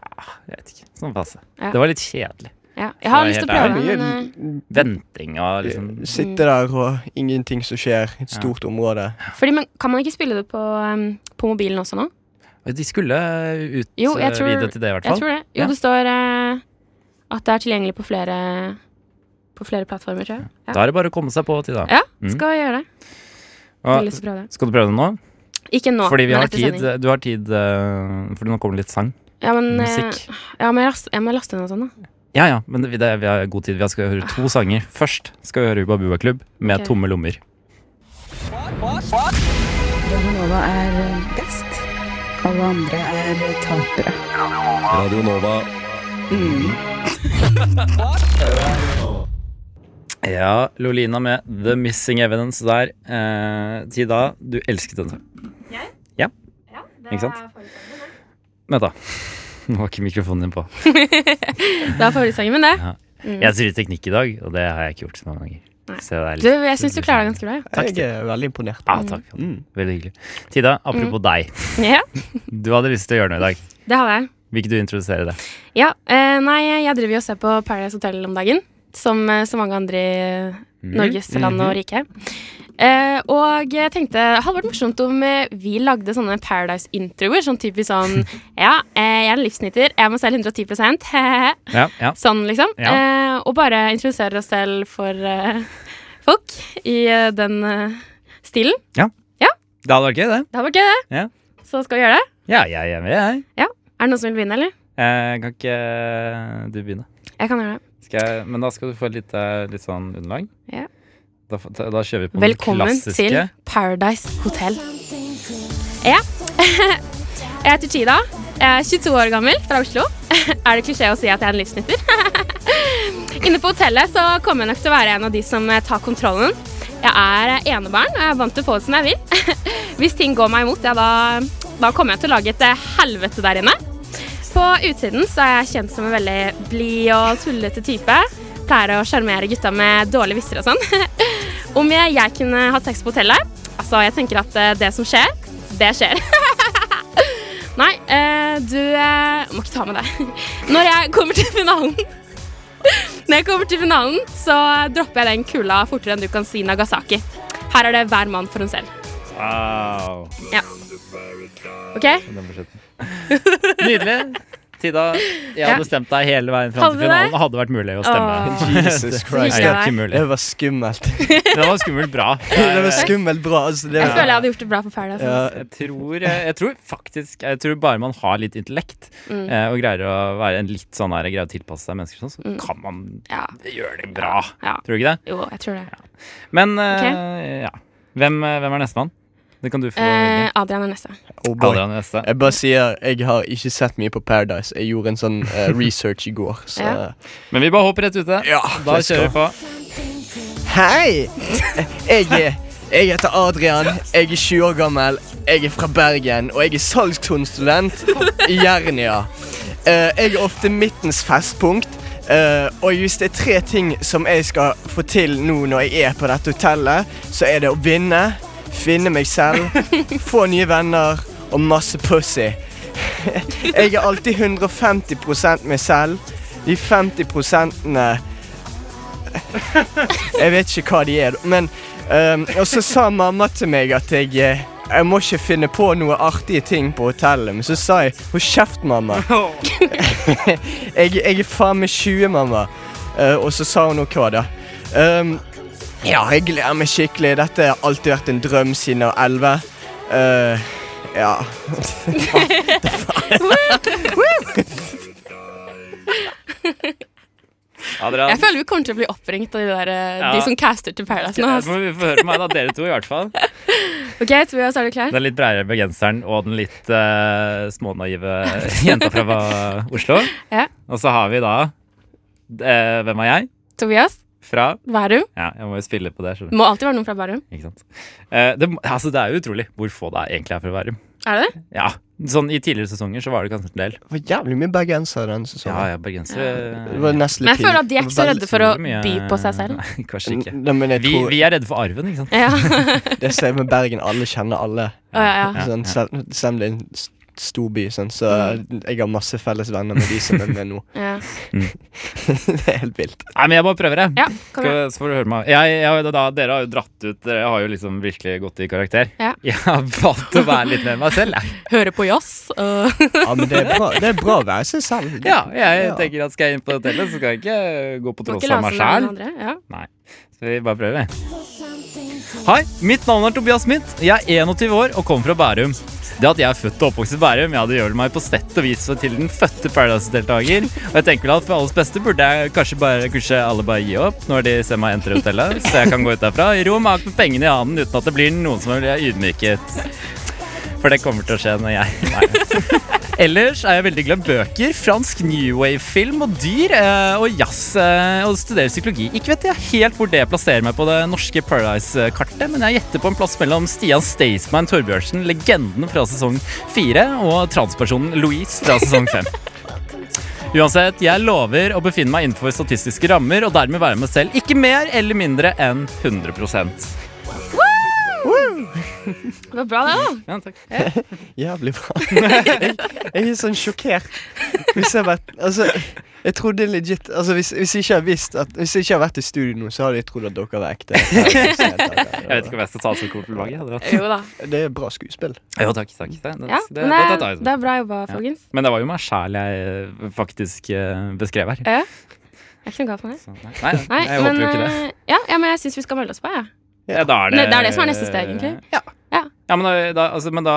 jeg vet ikke. Sånn passe. Ja. Det var litt kjedelig. Ja. Jeg har Nei, lyst til å helt Det er prøve, mye men eh, Venting og liksom Sitte der og ingenting som skjer. Et stort område. eh, fordi man, Kan man ikke spille det på, um, på mobilen også nå? De skulle utvide Jo, jeg tror, til det, i hvert jeg fall. tror det. Jo, Ja. det står eh, at det er tilgjengelig på flere På flere plattformer, tror jeg. Ja. Da er det bare å komme seg på til, da. Ja, Mm. skal jeg gjøre det. Jeg har Og, lyst til å prøve det. skal du prøve det nå? Ikke nå, Fordi vi men har etter tid. eh, sending. Du har tid, eh, fordi nå kommer det litt sang. Ja, men, eh, Musikk. ja, men jeg, last, jeg må laste ned og sånn, da. Ja ja, men det, det, vi har god tid. Vi skal høre to sanger. Først skal vi høre Uba Bua Klubb med Ok. Tomme lommer. Radionova er eh, best. Alle andre er eh, tapere. Radio Nova. Mm. Ja, Lolina med The Missing Evidence der. Eh, Tida, du elsket den. Jeg? Ja. Ikke sant? Vent, da. Nå var ikke mikrofonen din på. Det er favorittsangen min, det. Jeg sier teknikk i dag, og det har jeg ikke gjort så mange ganger. Mm. Nei. Så det er Du, litt, jeg syns du klarer deg ganske bra. ja. Takk, Jeg er veldig imponert. ah, takk. Mm. Veldig hyggelig. Tida, apropos deg. Ja, Du hadde lyst til å gjøre noe i dag. det hadde jeg. Vil ikke du introdusere det? Ja, eh, nei, jeg driver jo og ser på Paradise Hotel om dagen. Som eh, så mange andre i Mhm. Norges land og rike. Eh, og jeg tenkte det hadde vært morsomt om eh, vi lagde sånne Paradise-introer. Sånn typisk sånn Ja, eh, jeg er en livsnyter. Jeg må selge 110 he-he-he. Ja, ja. Sånn, liksom. Ja. Eh, og bare introdusere oss selv for eh, folk i eh, den eh, stilen. Det hadde vært gøy, det. Det hadde vært gøy, det. Ja. Så skal vi gjøre det. Ja, jeg er med, jeg. Er det noen som vil begynne, eller? Eh, kan ikke eh, du begynne? Jeg kan gjøre det. Skal jeg, men da skal du få et lite litt sånn underlag. Ja. Da, f- da, da kjører vi på Velkommen den til klassiske. Paradise Hotel. Ja. Jeg heter Tida. Jeg er 22 år gammel fra Oslo. Er det klisjé å si at jeg er en livsnytter? Inne på hotellet så kommer jeg nok til å være en av de som eh, tar kontrollen. Jeg er eh, enebarn, og jeg er vant til å få det som jeg vil. Hvis ting går meg imot, ja, da, da kommer jeg til å lage et eh, helvete der inne. På utsiden så er jeg kjent som en veldig blid og tullete type. Pleier å sjarmere gutta med dårlige visser og sånn. Om jeg, jeg kunne hatt sex på hotellet? Altså, jeg tenker at eh, det som skjer, det skjer. Nei, eh, du eh, må ikke ta med det. Når jeg kommer til finalen Når jeg kommer til finalen, så dropper jeg den kula fortere enn du kan si Nagasaki. Her er det hver mann for en selv. Wow. OK? Den på slutten. Nydelig. Tida, jeg hadde stemt deg hele veien fram til Hadde du det? finalen. Det hadde vært mulig å stemme. Åh. Jesus Nei, Christ. det var ikke mulig. Det var skummelt. Det var skummelt bra. Det var skummelt bra. Altså, det Jeg var, føler jeg hadde gjort det bra på Paradise. ja, Eh, Jeg tror, jeg tror faktisk Jeg tror bare man har litt intellekt Mm. eh, og greier å være en litt sånn her, greier å tilpasse seg mennesker, sånn, så Mm. kan man Ja. gjøre det bra. Ja. Tror du ikke det? Jo, jeg tror det. Men eh, ja. Hvem, eh, hvem er nestemann? Det kan du få. Eh, Helge. Adrian er neste. oh boy. Adrian er neste. Jeg bare sier, jeg har ikke sett mye på Paradise. Jeg gjorde en sånn eh, research i går, så Ja. Men vi bare hopper rett ute. Ja, da let's kjører vi på. Hei! Jeg, er- jeg heter Adrian, jeg er 20 år gammel, jeg er fra Bergen, og jeg er salgskonsulent i Jernia. Eh, Jeg er ofte midtens festpunkt, eh, og hvis det er tre ting som jeg skal få til nå når jeg er på dette hotellet, så er det å vinne, finne meg selv, få nye venner og masse pussy. Jeg er alltid 150 meg selv. De 50 prosentene jeg vet ikke hva de er, men ehm, Og så sa mamma til meg at jeg eh, jeg må ikke finne på noe artige ting på hotellet, men så sa jeg Hold kjeft, mamma. jeg, jeg er faen meg 20, mamma. Eh, og så sa hun noe hva da. Ehm, ja, jeg gleder meg skikkelig. Dette har alltid vært en drøm siden jeg var 11. Eh, ja. Adrian. Jeg føler vi kommer til å bli oppringt av de, der, eh, Ja. de som caster til Paradise nå. altså. Ja, ass. så eh, må vi få høre på meg, da. Dere to, i hvert fall. OK, Tobias, er du klar? Den litt bredere bergenseren og den litt eh, smånaive jenta fra eh, Oslo. Ja. Og så har vi da eh, Hvem er jeg? Tobias Fra Bærum. Ja, jeg må jo spille på det. skjønner du. Må alltid være noen fra Bærum. Ikke sant? Eh, det, altså, det er jo utrolig hvor få det er egentlig er fra Bærum. Er det det? Ja, sånn I tidligere sesonger så var det kanskje en del. Sånn, Det var jævlig mye bergensere denne Ja, sesongen. ja, bergensere eh, Det var nesten Men litt jeg føler at de er ikke så Veldig redde for å utrolig mye- by på seg selv. Nei, kanskje pinlig. ikke. Nei, men jeg Vi, tror vi er redde for arven, ikke sant? Ja. Det som er med Bergen, alle kjenner alle. Å, ja, ja. Sånn, selv, selv om det er en s- stor by, sånn, så jeg har masse felles venner med de som er med nå. Ja. det er helt vilt. Nei, men jeg bare prøver, jeg. ja, kom igjen. Skal, så får du høre meg. Jeg, jeg, da, dere har jo dratt ut Dere har jo liksom virkelig gått i karakter. Ja. Jeg har valgt å være litt mer meg selv. Jeg. Høre på jazz. øh. Ja, men det er bra, det er bra å være seg selv. Ja, jeg Ja. tenker at skal jeg inn på hotellet, så skal jeg ikke gå på Må tross ikke la av meg som noen sjæl. andre, Ja. Så vi bare prøver. Hei, mitt navn er Tobias Smith. Jeg er 21 år og kommer fra Bærum. Det at jeg er født og oppvokst i Bærum, ja, det gjør meg på sett og vis til den fødte Paradise-deltaker. Og jeg tenker vel at for alles beste burde jeg kanskje, bare, kanskje alle bare gi opp når de ser meg entre hotellet, så jeg kan gå ut derfra i ro og mak med pengene i hånden uten at det blir noen som blir ydmyket. For det kommer til å skje når jeg Nei. Ellers er jeg veldig glad i bøker, fransk new wave-film og dyr eh, og jazz eh, og studerer psykologi. Ikke vet jeg helt hvor det plasserer meg på det norske Paradise-kartet, men jeg gjetter på en plass mellom Stian Staysman Torbjørnsen, legenden fra sesong fire, og transpersonen Louise fra sesong fem. Uansett, jeg lover å befinne meg innenfor statistiske rammer og dermed være meg selv ikke mer eller mindre enn 100 Det var bra, det, da. ja, takk. Jævlig bra. jeg, jeg er sånn sjokkert. Hvis jeg vet, altså, jeg trodde legit altså, hvis, hvis, jeg ikke har visst at, hvis jeg ikke har vært i studio nå, så hadde jeg trodd at dere var ekte. Jeg vet ikke om jeg skal ta det som kompliment. jeg, Adrian. Jo da. Det er bra skuespill. Jo, takk. takk. Det, det, det, Ja, altså. men eh, det, det, det, er- det er bra jobba, folkens. Men det var jo meg sjæl jeg eh, faktisk eh, beskrev her. Det er ikke noe galt med det. Så, nei, nei, Nei, jeg men håper jo ikke det. øh, Ja, ja men jeg syns vi skal melde oss på, jeg. Ja, da er det, Ne- det er det som er neste steg, egentlig. Ja. Ja. Ja, men, da, da, altså, men da,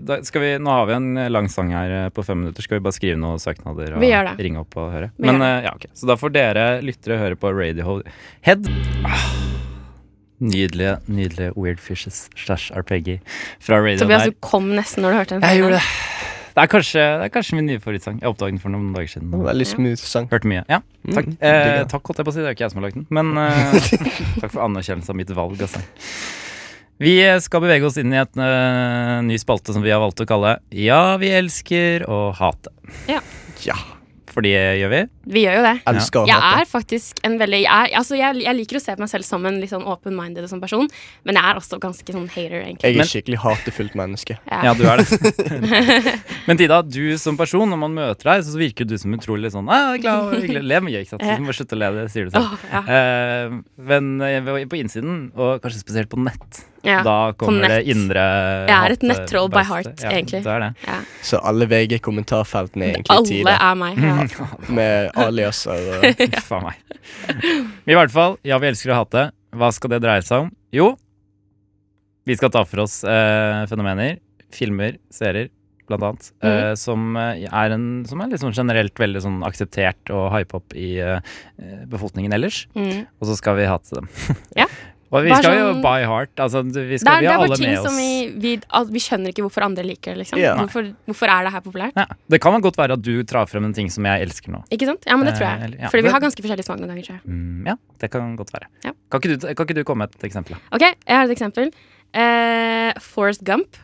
da skal vi Nå har vi en lang sang her eh, på fem minutter. Skal vi bare skrive noen søknader og Vi gjør det. ringe opp og høre? Vi men gjør eh, ja, ok Så da får dere lyttere høre på Radiohead. Ah, nydelige, nydelige Weird Fishes slash RPG fra Radiohead. Tobias, her. du kom nesten når du hørte den. Jeg sangen. gjorde det. Det er kanskje, det er kanskje min nye favorittsang. Jeg oppdaget den for noen dager siden. Veldig smooth sang. Hørte mye. Ja, takk. Mm, eh, digger. takk, holdt jeg på å si. Det er jo ikke jeg som har lagd den. Men eh, takk for anerkjennelsen av mitt valg. Altså. Vi eh, skal bevege oss inn i et eh, ny spalte som vi har valgt å kalle Ja, vi elsker å hate. Ja. For det gjør vi. Vi gjør jo det. Elsker å Jeg hate. er faktisk en veldig jeg, er, altså jeg, jeg liker å se på meg selv som en litt sånn open-minded og sånn person, men jeg er også ganske sånn hater, egentlig. Jeg er Men- et skikkelig hatefullt menneske. Ja, du er det. Men Tida, du som person, når man møter deg, så virker du som utrolig sånn ah, jeg er glad og hyggelig. Le mye, ikke sant. Så du må slutte å le, det sier du selv. Åh, ja. Eh, men eh, på innsiden, og kanskje spesielt på nett, Ja. da kommer det nett. indre Jeg er et hatet- nettroll by beistet. heart, egentlig. Du er det. Så alle VG-kommentarfeltene er egentlig Alle Tide, er Mm. meg. Ja. med aliaser og Uff a meg. I hvert fall, ja, vi elsker å hate. Hva skal det dreie seg om? Jo, vi skal ta for oss eh, fenomener, filmer, serier, blant annet, eh, Mhm. som, eh, er en, som er litt sånn generelt veldig sånn akseptert og hype opp i eh, befolkningen ellers. Mm. Og så skal vi hate dem. Ja. Og vi Bare skal jo sånn- by heart. Altså, du- vi, Det er, skal, vi det er har bare alle ting med som oss. vi, vi, al- vi skjønner ikke hvorfor andre liker det. liksom Ja. hvorfor, hvorfor er det her populært? Ja. Det kan vel godt være at du drar frem en ting som jeg elsker nå. Ikke sant? Ja, men det tror Eh, jeg. eller- ja. Fordi vi har ganske forskjellig smak noen ganger. tror jeg. Mm, ja, det kan godt være. Ja. Kan, ikke du, kan ikke du komme med et eksempel? da? Ok, Jeg har et eksempel. Eh, Forrest Gump.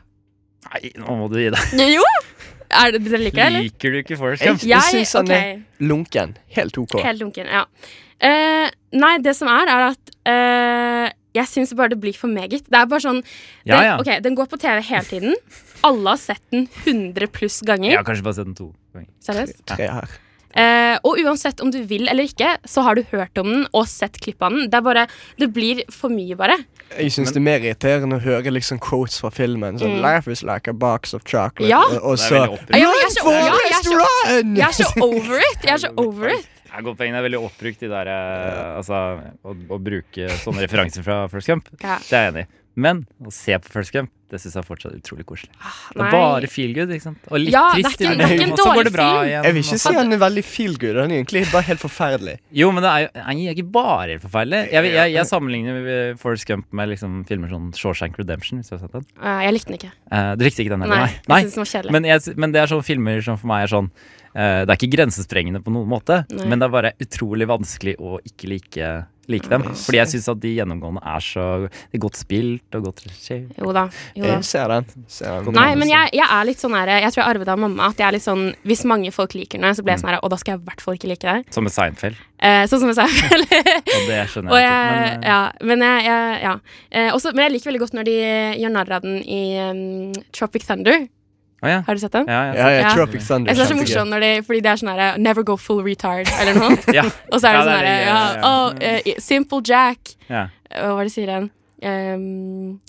Nei, nå må du gi deg. Jo! Er det, dere liker det, eller? Liker du ikke Forrest Jeg, Gump? jeg Jeg- syns han ok. er lunken. Helt OK. Helt lunken, ja. Eh, nei, det som er, er at eh, jeg syns bare det blir for meget. Det er bare sånn den, Ja, ja. ok, den går på TV hele tiden. Alle har sett den 100 pluss Jeg ganger. har kanskje bare sett den to ganger. Seriøst. Tre her. Eh, og uansett om du vil eller ikke, så har du hørt om den og sett klipp av den. Det er bare, det blir for mye, bare. Jeg syns det er mer irriterende å høre liksom quotes fra filmen. Sånn 'Life is like a box of chocolate', Mm. Ja. og- og Det er så veldig oppbrukt. Ja, men jeg er så- ja, jeg er Forest, så- run! Jeg er så over it! Jeg er så over it. Jeg går poenget, det er veldig oppbrukt de der, eh, altså, å, å bruke sånne referanser fra First Camp. Ja. Det er jeg enig i. Men å se på First Camp, det syns jeg er fortsatt utrolig koselig. Det Nei. er bare feel good, ikke sant? Og litt Ja, det er trist. ikke- innimellom, det er ikke en og så går dårlig det bra film. igjen, Jeg vil ikke og si så- han er veldig feel good. Han er egentlig bare helt forferdelig. Jo, men det er jo nei, jeg er ikke bare forferdelig. Jeg, vil- jeg, jeg sammenligner eh, Forrest Gump med liksom, filmer som Shawshank Redemption, hvis du har sett den. Eh, jeg likte den ikke. Eh, du likte ikke den heller? Nei, Nei. jeg synes den var kjedelig. Men, jeg, men det er sånne filmer som for meg er sånn eh, Det er ikke grensesprengende på noen måte, Nei. men det er bare utrolig vanskelig å ikke like, like dem. Fordi jeg syns at de gjennomgående er så de er godt spilt og godt regissert. Jo da. Jo da. Jeg ser den. Ser den. Nei, men jeg, jeg er litt sånn her, Jeg tror jeg arvet av mamma at jeg er litt sånn Hvis mange folk liker den, så blir jeg Mm. sånn her Og da skal jeg i hvert fall ikke like deg. Som med Seinfeld, Eh, sånn som jeg sa. Eller- og det skjønner og jeg jeg, ikke. Men, eh, ja, men jeg, jeg ja. Eh, også, men jeg liker veldig godt når de eh, gjør narr av den i um, Tropic Thunder. å ja. Har du sett den? Ja, ja. Ja, ja, Ja. Tropic Thunder. Jeg synes det er så kjempegøy. morsomt når de, fordi det er sånn her Never go full retard, eller noe. Ja. Og så er Ja, det sånn det er her det, ja, ja, ja. «Å, eh, Simple Jack. ja. Eh, Hva var det de sier igjen? Um,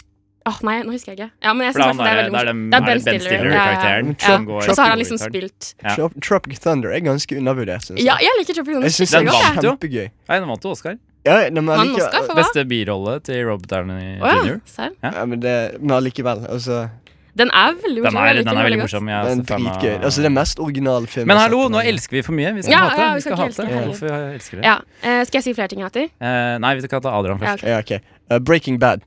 Åh, nei, nå husker jeg ikke. Ja, men jeg For det er han synes i hvert fall det er veldig der- det er dem- morsomt. er det Ben Stiller-karakteren Ja, ja. som går- Og så har han liksom Retard. spilt Ja. Trop- Tropic Thunder er ganske undervurdert, syns Ja, jeg. jeg liker Tropic Thunder Jeg syns Den den kjempegodt. er vant jo. kjempegøy. Nei, den vant jo Oscar. Ja, nei, men Han allike- Oscar for hva? Beste birolle til Robert Downey Å jr. ja, serr. Ja, men det- men allikevel. Altså, Den er veldig Den morsom. jeg er, liker den er veldig godt. morsom. Jeg er den er også fan av- dritgøy. Altså, det er mest originale filmen. Men hallo, nå elsker vi for mye. Vi skal Ja, hate. ja, vi vi skal skal ikke hate. elske, herregud. Hvorfor elsker vi? Ja. eh, skal jeg si flere ting jeg hater? Eh, nei, vi skal ta Adrian Ja, først. ok. Ja, ok. Uh, Breaking Bad.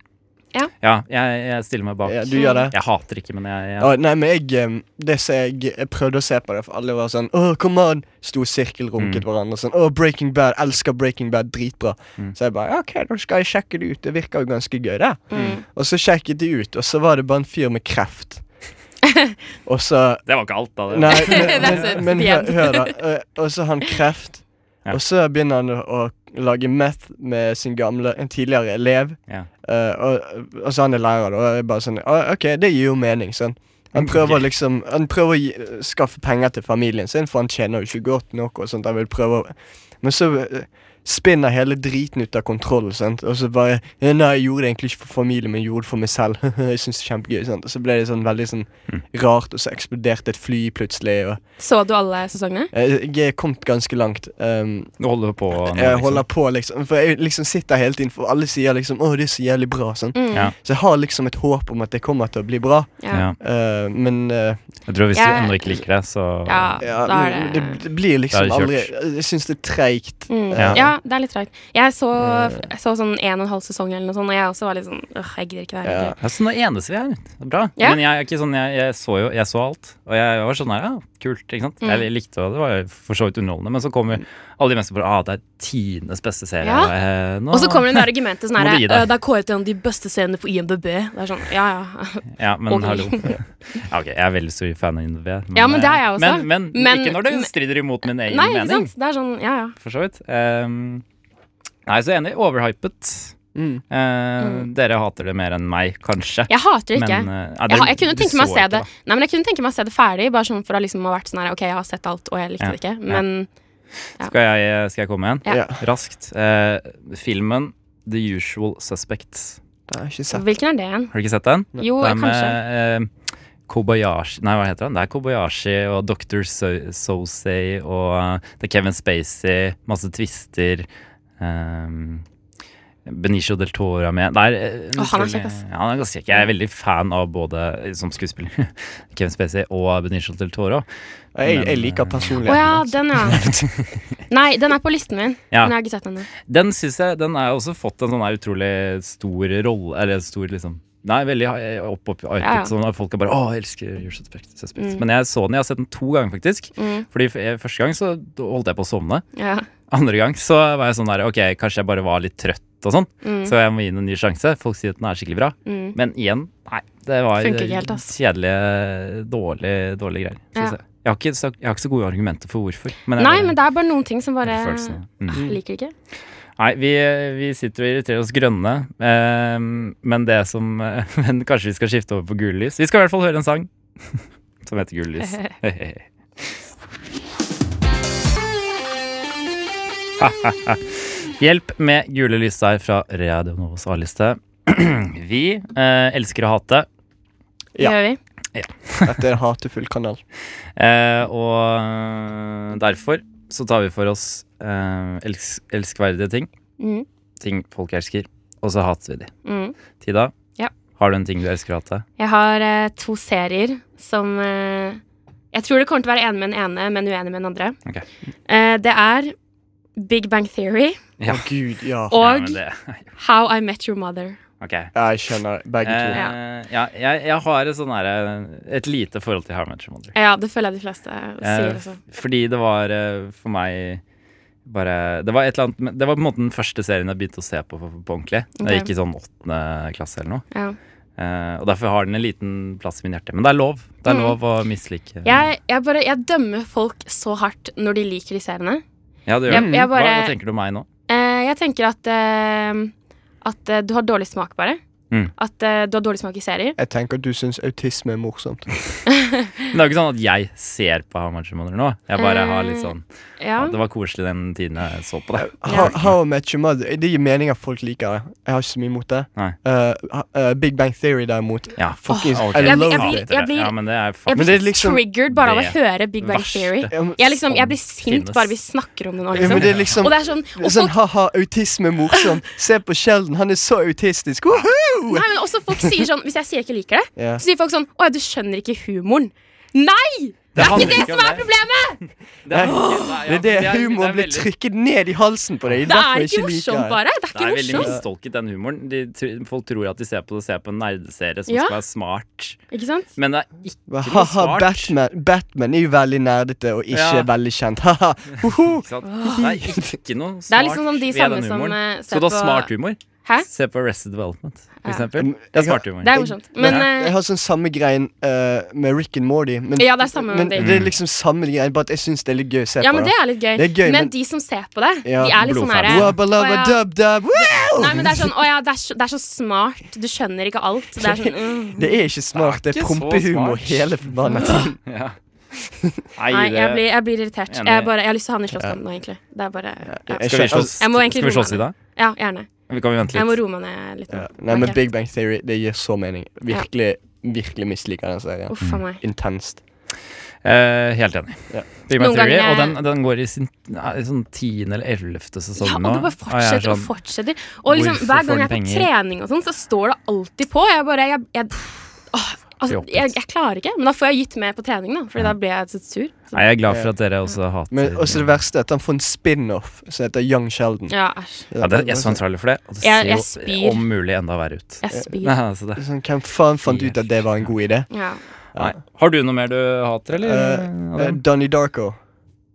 Ja, jeg, jeg stiller meg bak. Ja, du gjør det? Jeg hater ikke, men jeg, jeg Å, nei, men jeg, um, det som jeg, jeg prøvde å se på det, for alle var sånn Åh, kom an! Sto Mm. sirkelrunket hverandre sånn. Åh, Breaking Bad, elsker Breaking Bad, dritbra. Mm. Så jeg bare ja, OK, da skal jeg sjekke det ut. Det virker jo ganske gøy, det. Mm. Og så sjekket de ut, og så var det bare en fyr med kreft. og så Det var ikke alt, da. Det. Nei, men, That's it, men, men the hør, end. hør da. eh, Og så har han kreft. Ja. Og så begynner han å, å lage meth med sin gamle, en tidligere elev. Ja. Eh, og, og så han er lærer, da. Og jeg bare sånn «Å, OK, det gir jo mening, sånn. Han prøver liksom Han prøver å gi, skaffe penger til familien sin, for han tjener jo ikke godt nok. og sånt Han vil prøve å Men så eh, spinner hele driten ut av kontroll. Sant? Og så bare Nei, jeg gjorde det egentlig ikke for familien min, jeg gjorde det for meg selv. jeg synes det er kjempegøy sant? Og så ble det sånn veldig sånn rart, og så eksploderte et fly plutselig. Og, Så du alle sesongene? eh, jeg er kommet ganske langt. Um, Du holder på nå, jeg liksom. holder på, liksom. For jeg liksom sitter hele tiden, for alle sier liksom 'Å, det er så jævlig bra'. Sånn. Mm. Ja. Så jeg har liksom et håp om at det kommer til å bli bra. Ja. Ja. Eh, men eh, Jeg tror hvis du Jeg- ennå ikke liker det, så Ja, ja, da er det, men det, det blir liksom Da er aldri det Jeg syns det er treigt. mm. Ja. ja, det er litt rart. Jeg så, Eh. jeg så sånn en og en halv sesong eller noe sånt, og jeg også var litt sånn Åh, jeg gidder ikke det her. Ja. egentlig». Ja, så nå enes vi her. Det er Bra. Ja. Men jeg er ikke sånn, jeg, jeg så jo jeg så alt. Og jeg var sånn her, ja, kult. ikke sant? Mm. Jeg likte det, og det var jo for så vidt underholdende. Men så Mm. kommer alle de meste på ah, det er tidenes beste serie. Ja. Eh, nå- Og så kommer det der argumentet sånn Må her du gi deg. «Øh, Det er kåret til en av de beste scenene på IMDb. Det er sånn, ja, ja. Ja, men Og- hallo. Ja, ok, jeg er veldig stor fan av INV. Men, eh, Ja, men det er jeg også. Men, men, Men- ikke når det strider imot min egen Nei, ikke mening, sant? Det er sånn, ja, ja. for så vidt. Ehm, nei, så enig. Overhypet. Mm. Eh, Dere hater det mer enn meg, kanskje. Jeg hater det ikke. Men, eh, ja, jeg, dere- har- jeg kunne du tenke meg å så se ikke, det da. Nei, men jeg kunne tenke meg å se det ferdig, bare sånn for å liksom ha vært sånn her OK, jeg har sett alt, og jeg likte Ja. det ikke, men Skal jeg, eh, skal jeg komme igjen? Ja. Ja. Raskt. Eh, filmen The Usual Suspects. Jeg har ikke sett hvilken er det igjen? Har du ikke sett den? Jo, det er kanskje. med eh, Kobayashi Nei, hva heter han? Det er Kobayashi og Dr. So Sosei og eh, det er Kevin Spacey, masse twister. ehm, Benicio del Toro er med. Det er, eh, Åh, han er utrolig- kjekk, ass. Ja, han er ganske kjekk. Jeg er veldig fan av både eh, som skuespiller Kevin Spacey og Benicio del Toro. Jeg, jeg Men, eh, liker Å ja, personligheten. den, ja. Nei, den er på listen min, Ja. men jeg har ikke sett den ennå. Den syns jeg Den har også fått en sånn her utrolig stor rolle Eller stor liksom Nei, veldig eh, opp opp i arket Ja, ja. Sånn at folk er bare Åh, jeg elsker Your Suspect, Suspect. Mm. Men jeg så den, jeg har sett den to ganger faktisk Mm, Fordi f- eh, første gang så holdt jeg på å sovne ja. Andre gang så var jeg sånn der Ok, kanskje jeg bare var litt trøtt og sånn Mm, Så jeg må gi den en ny sjanse Folk sier at den er skikkelig bra mm. Men igjen, nei Det var Funker ikke helt, ass. kjedelige, dårlige, dårlige greier synes Ja. jeg. Jeg, har ikke, så, jeg har ikke så gode argumenter for hvorfor men jeg Nei, bare- men det er bare noen ting som bare følelsene. Mm. Ah, Liker det ikke. Nei, vi, vi sitter og irriterer oss grønne, eh, men det som eh, Men kanskje vi skal skifte over på gullys. Vi skal i hvert fall høre en sang som heter Gullys. Hjelp med gule lys der fra Radio Novas A-liste. vi eh, elsker å hate, Det Ja. gjør vi. Dette er en hatefull kanal. eh, og eh, derfor så tar vi for oss eh, elsk, elskverdige ting. Mm, Ting folk elsker, og så hater vi de. mm. Tida, Ja. har du en ting du elsker å hate? Jeg har eh, to serier som eh, Jeg tror det kommer til å være enig med den ene, men uenig med den andre. Ok. Eh, det er Big Bang Theory Ja. Å gud, ja. Ja, og men det- How I Met Your Mother. ok. Ja, Jeg skjønner begge Eh, to. ja. jeg, jeg har et, sånn her, eh, et lite forhold til How I Met Your Mother. Ja, det føler jeg de fleste sier Eh, også. fordi det var eh, for meg bare Det var et eller annet men Det var på en måte den første serien jeg begynte å se på på, på ordentlig. Da Jeg Ok. gikk i sånn åttende klasse eller noe. Ja. Eh, og derfor har den en liten plass i min hjerte. Men det er lov. Det er Mm. lov å mislike. Jeg, jeg, bare, jeg dømmer folk så hardt når de liker de seriene. ja, det gjør jeg- det. jeg bare- hva, hva tenker du om meg nå? Eh, jeg tenker at, eh, at eh, du har dårlig smak, bare. Mm. At eh, du har dårlig smak i serier. Jeg tenker at du syns autisme er morsomt. Men det er jo ikke sånn at jeg ser på How I Met Your Mother nå. Jeg bare har litt Eh, sånn Ja. Det var koselig den tiden jeg så på det. How, how I Met Your Mother Det gir mening at folk liker det. Jeg har ikke så mye imot det. Nei. Eh, eh, Big Bang Theory, derimot Ja, Fuckings, Åh, ok. I Jeg blir- love jeg it. blir- jeg blir- ja, men det er Jeg faen blir Men det er liksom triggered bare av å det høre Big Bang verste. Theory. Ja, men- Jeg, liksom, jeg blir som sint finnes. bare vi snakker om det nå, Ja, men liksom. det er liksom Og det er sånn, og sånn folk, ha-ha, autisme er morsomt. Se på Sheldon, han er så autistisk. Woohoo! nei, men også folk sier sånn Hvis jeg sier jeg ikke liker det, Ja. så sier folk sånn Å ja, du skjønner ikke humoren. Nei! Det er handler ikke det ikke om som er det. problemet! Nei, Det er det humoren blir trykket ned i halsen på deg. Det derfor er jeg ikke liker morsomt, det. bare. Det er Det ikke er veldig morsomt. mistolket, den humoren. De, tr- folk tror at de ser på det, ser på en nerdeserie som Ja. skal være smart. Ikke sant? Men det er ikke Hva, noe Ha-ha, smart. Batman. Batman er jo veldig nerdete og ikke Ja. veldig kjent. Ha-ha. Hoho. Ikke sant? Det er ikke noe smart Det er liksom som de ved samme den som humoren. eh, ser Skal du ha smart på humor? Hæ? Se på Arrested Development, for Ja. eksempel. Jeg Det har- er smart humor. Det er morsomt. Men jeg, jeg eh, har sånn samme greien eh, med Rick and Morty. Men, Ja, det er samme men med det er liksom samme greien, bare at jeg syns det er litt gøy å se ja, på. men det er litt gøy. Det er men gøy, men- de som ser på det, Ja, de er litt sånn blodfan. herre Wabba «Å labba ja, dub dub. Wow! Nei, men det er sånn Å ja, det er så, det er så smart. Du skjønner ikke alt. Det er sånn mm. Det er ikke smart. Det Det er er ikke så prompehumor smart. hele forbanna tiden. Ja. Nei, jeg blir, jeg blir irritert. Enig. Jeg, bare, jeg har lyst til å ha den i slåsskamp nå, egentlig. Det er bare ja. Skal vi slåss, Jeg må skal egentlig vi roe slåss i meg dag? ja, gjerne. Vi kan jo vente Jeg må litt. roe meg ned litt. Ja. nå. Nei, men Ok. Big Bang Theory det gir så mening. Virkelig, virkelig misliker den serien. Uff a meg. Intenst. Eh, helt enig. Ja. Big Bang Noen Theory, ganger- og den, den går i sin nei, sånn tiende eller ellevte sesong Ja, og Sånn nå. det bare jeg er fortsetter og sånn- fortsetter. Og liksom, Hvorfor hver får den gang jeg er på penger? trening og sånn, så står det alltid på. Jeg bare jeg, jeg, åh, altså, Kroppen. jeg, jeg klarer ikke. Men da får jeg gitt med på trening, da. Fordi da blir jeg så sur. Så, Nei, jeg er glad for at dere også hater Men også det verste er at han får en spin-off som heter Young Sheldon. sånn- ja, æsj. ja, det, Jeg så en trailer for det, og det Jeg- jeg ser jo spyr. om mulig enda verre ut. Jeg spyr. Nei, altså det. Sånn, hvem faen fant ut at det var en god idé? Ja. Nei. Har du noe mer du hater, eller? Eh, Adam? Eh, Donnie Darko.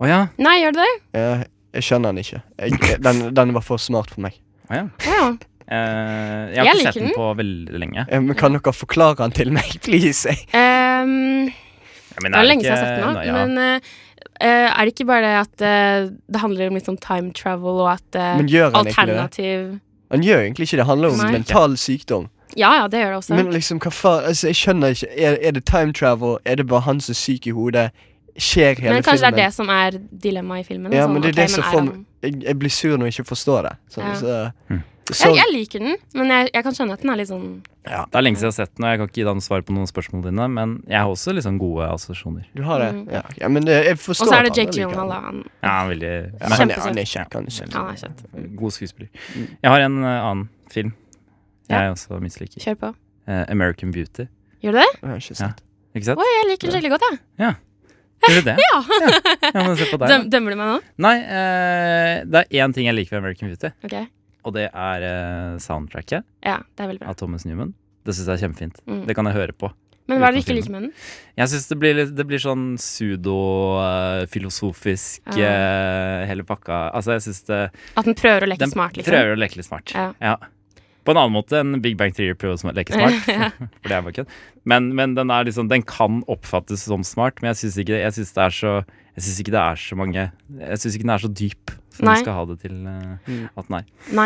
Å ja. Nei, gjør det det? Jeg, jeg skjønner den ikke. Jeg, den, den var for smart for meg. Å, ja. Ja. Eh, jeg har Jeg ikke liker sett den på veldig lenge. Eh, Men kan dere forklare den til meg, please? Jeg- Ehm, Ja, men det er er lenge siden jeg har ikke- sett den nå. Nei, ja. Men eh, eh, er det ikke bare det at eh, det handler om litt sånn time travel, og at eh, Men gjør han egentlig det? alternativ Han gjør egentlig ikke det. Det handler om Nei. mental sykdom. Ja ja, det gjør det også. Men liksom, hva faen? Altså, jeg skjønner ikke. Er, er det time travel? Er det bare han som er syk i hodet? Skjer hele Men kanskje filmen? det er det som er dilemmaet i filmen. da, Ja, sånn, men det er ok, det som men får han- meg jeg, jeg blir sur når jeg ikke forstår det. Sånn, Ja. så, Mm. så, jeg, jeg liker den, men jeg, jeg kan skjønne at den er litt sånn Det er lenge siden jeg har sett den, og jeg kan ikke gi deg noe svar på noen spørsmål dine, men jeg har også liksom gode assosiasjoner. du har det? Mm. Ja, ja men det, jeg Og forstår så er at det Jake andre liker den. Gyllenhaal, da. Han, Ja, han er veldig Ja, han, er- Kjempesøt. han er kjekk. Han er kjekk. han er kjent. god skuespiller. Jeg har en eh, annen film jeg Ja. også misliker. Kjør på. Eh, American Beauty. Gjør du det? Jeg har ikke sett. Ikke sant? Oi, jeg liker den veldig godt, jeg. Gjør du det? ja. ja, men se på deg. da. Døm, dømmer du meg nå? Nei, eh, det er én ting jeg liker ved American Beauty, Ok. og det er eh, soundtracket Ja, det er veldig bra. av Thomas Newman. Det syns jeg er kjempefint. Mm. Det kan jeg høre på. Men hva er det du Utenom ikke liker med den? Jeg syns det, blir litt- det blir sånn pseudo-filosofisk Ja. hele pakka. Altså, jeg syns det At den prøver å leke Den smart, liksom. prøver å leke litt smart. Ja. På en annen måte enn Big Bang Theory prøver å sm- leke smart. For det er bare kødd. Men, men den, er liksom, den kan oppfattes som smart, men jeg syns ikke, det- jeg synes det er så jeg syns ikke det er så mange Jeg syns ikke den er så dyp som Nei. Mm. den skal ha det til eh, at den er. Nei.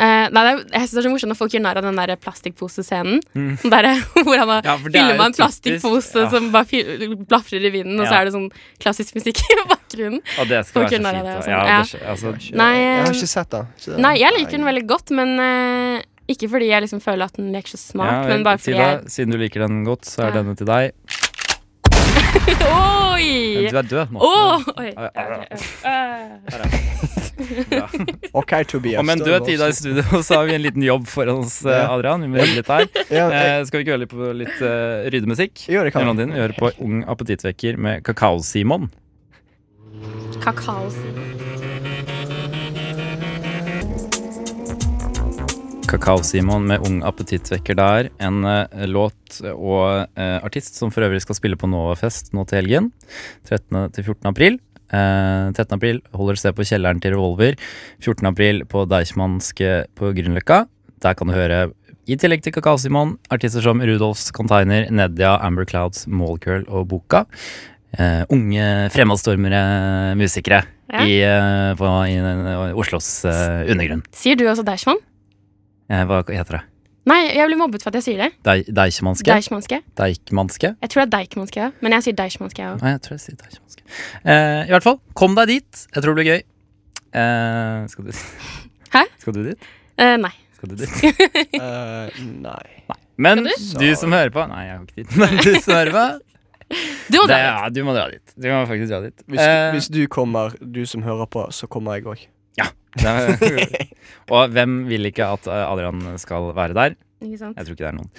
Eh, nei, det er, jeg synes det er så morsomt når folk gjør narr av den der plastikkposescenen. Den Der, hvor han har Mm. Ja, for det er jo filma en typisk, plastikkpose ja. som bare fil- blafrer i vinden, og så Ja. er det sånn klassisk musikk i bakgrunnen. Og det skal Folk være så unner deg fint. det da. og sånn. Ja, Ja. det, skj- altså, Nei, Jeg har eh, ikke sett den. så- Nei, jeg liker den veldig godt, men eh, ikke fordi jeg liksom føler at den leker så smart, ja, men bare fordi Tida, jeg siden du liker den godt, så er Ja. denne til deg. Du Oi! er død nå. Åh, oi. Ja, ja, ja. OK, Tobias. Og med en da død er det Tida i studio, så har vi en liten jobb foran oss, eh, Ja. Adrian. Vi må rydde litt her. også- Ja, jeg, Eh, skal vi ikke høre litt på litt eh, ryddemusikk? Jo, det kan vi. Mellom din, Vi hører på Ung appetittvekker med Kakao-Simon. Kakao. Kakao-Simon med Ung appetittvekker der. En eh, låt og eh, artist som for øvrig skal spille på Novafest nå til helgen. 13. til 14. april. Eh, 13. april holder det sted på kjelleren til Revolver. 14. april på Deichmanske på Grünerløkka. Der kan du høre i tillegg til Kakao-Simon, artister som Rudolfs Container, Nedia, Amber Clouds, Mallcurl og Boka. Eh, unge fremadstormere, musikere Ja. i, eh, på, i eh, Oslos eh, undergrunn. Sier du også Deichman? Eh, hva heter det? Nei, jeg blir mobbet for at jeg sier det. Dei- Deichmanske? Deichmanske. Deichmanske? Jeg tror det er Deichmanske, ja. men jeg sier Deichmanske, jeg òg. Nei, jeg tror jeg sier Deichmanske. Eh, I hvert fall, kom deg dit. Jeg tror det blir gøy. Eh, skal du Hæ? Skal du dit? Eh, nei. Skal du dit? eh, nei. Men du? Skal du? som hører på Nei, jeg har ikke tid. Men du som hører på, Du må det, dra. ja, du må dra dit. Du må faktisk dra dit. Hvis, Eh, du, hvis du kommer, du som hører på, så kommer jeg òg. det er- og hvem vil ikke at eh, Adrian skal være der? Ikke sant? Jeg tror ikke det er noen.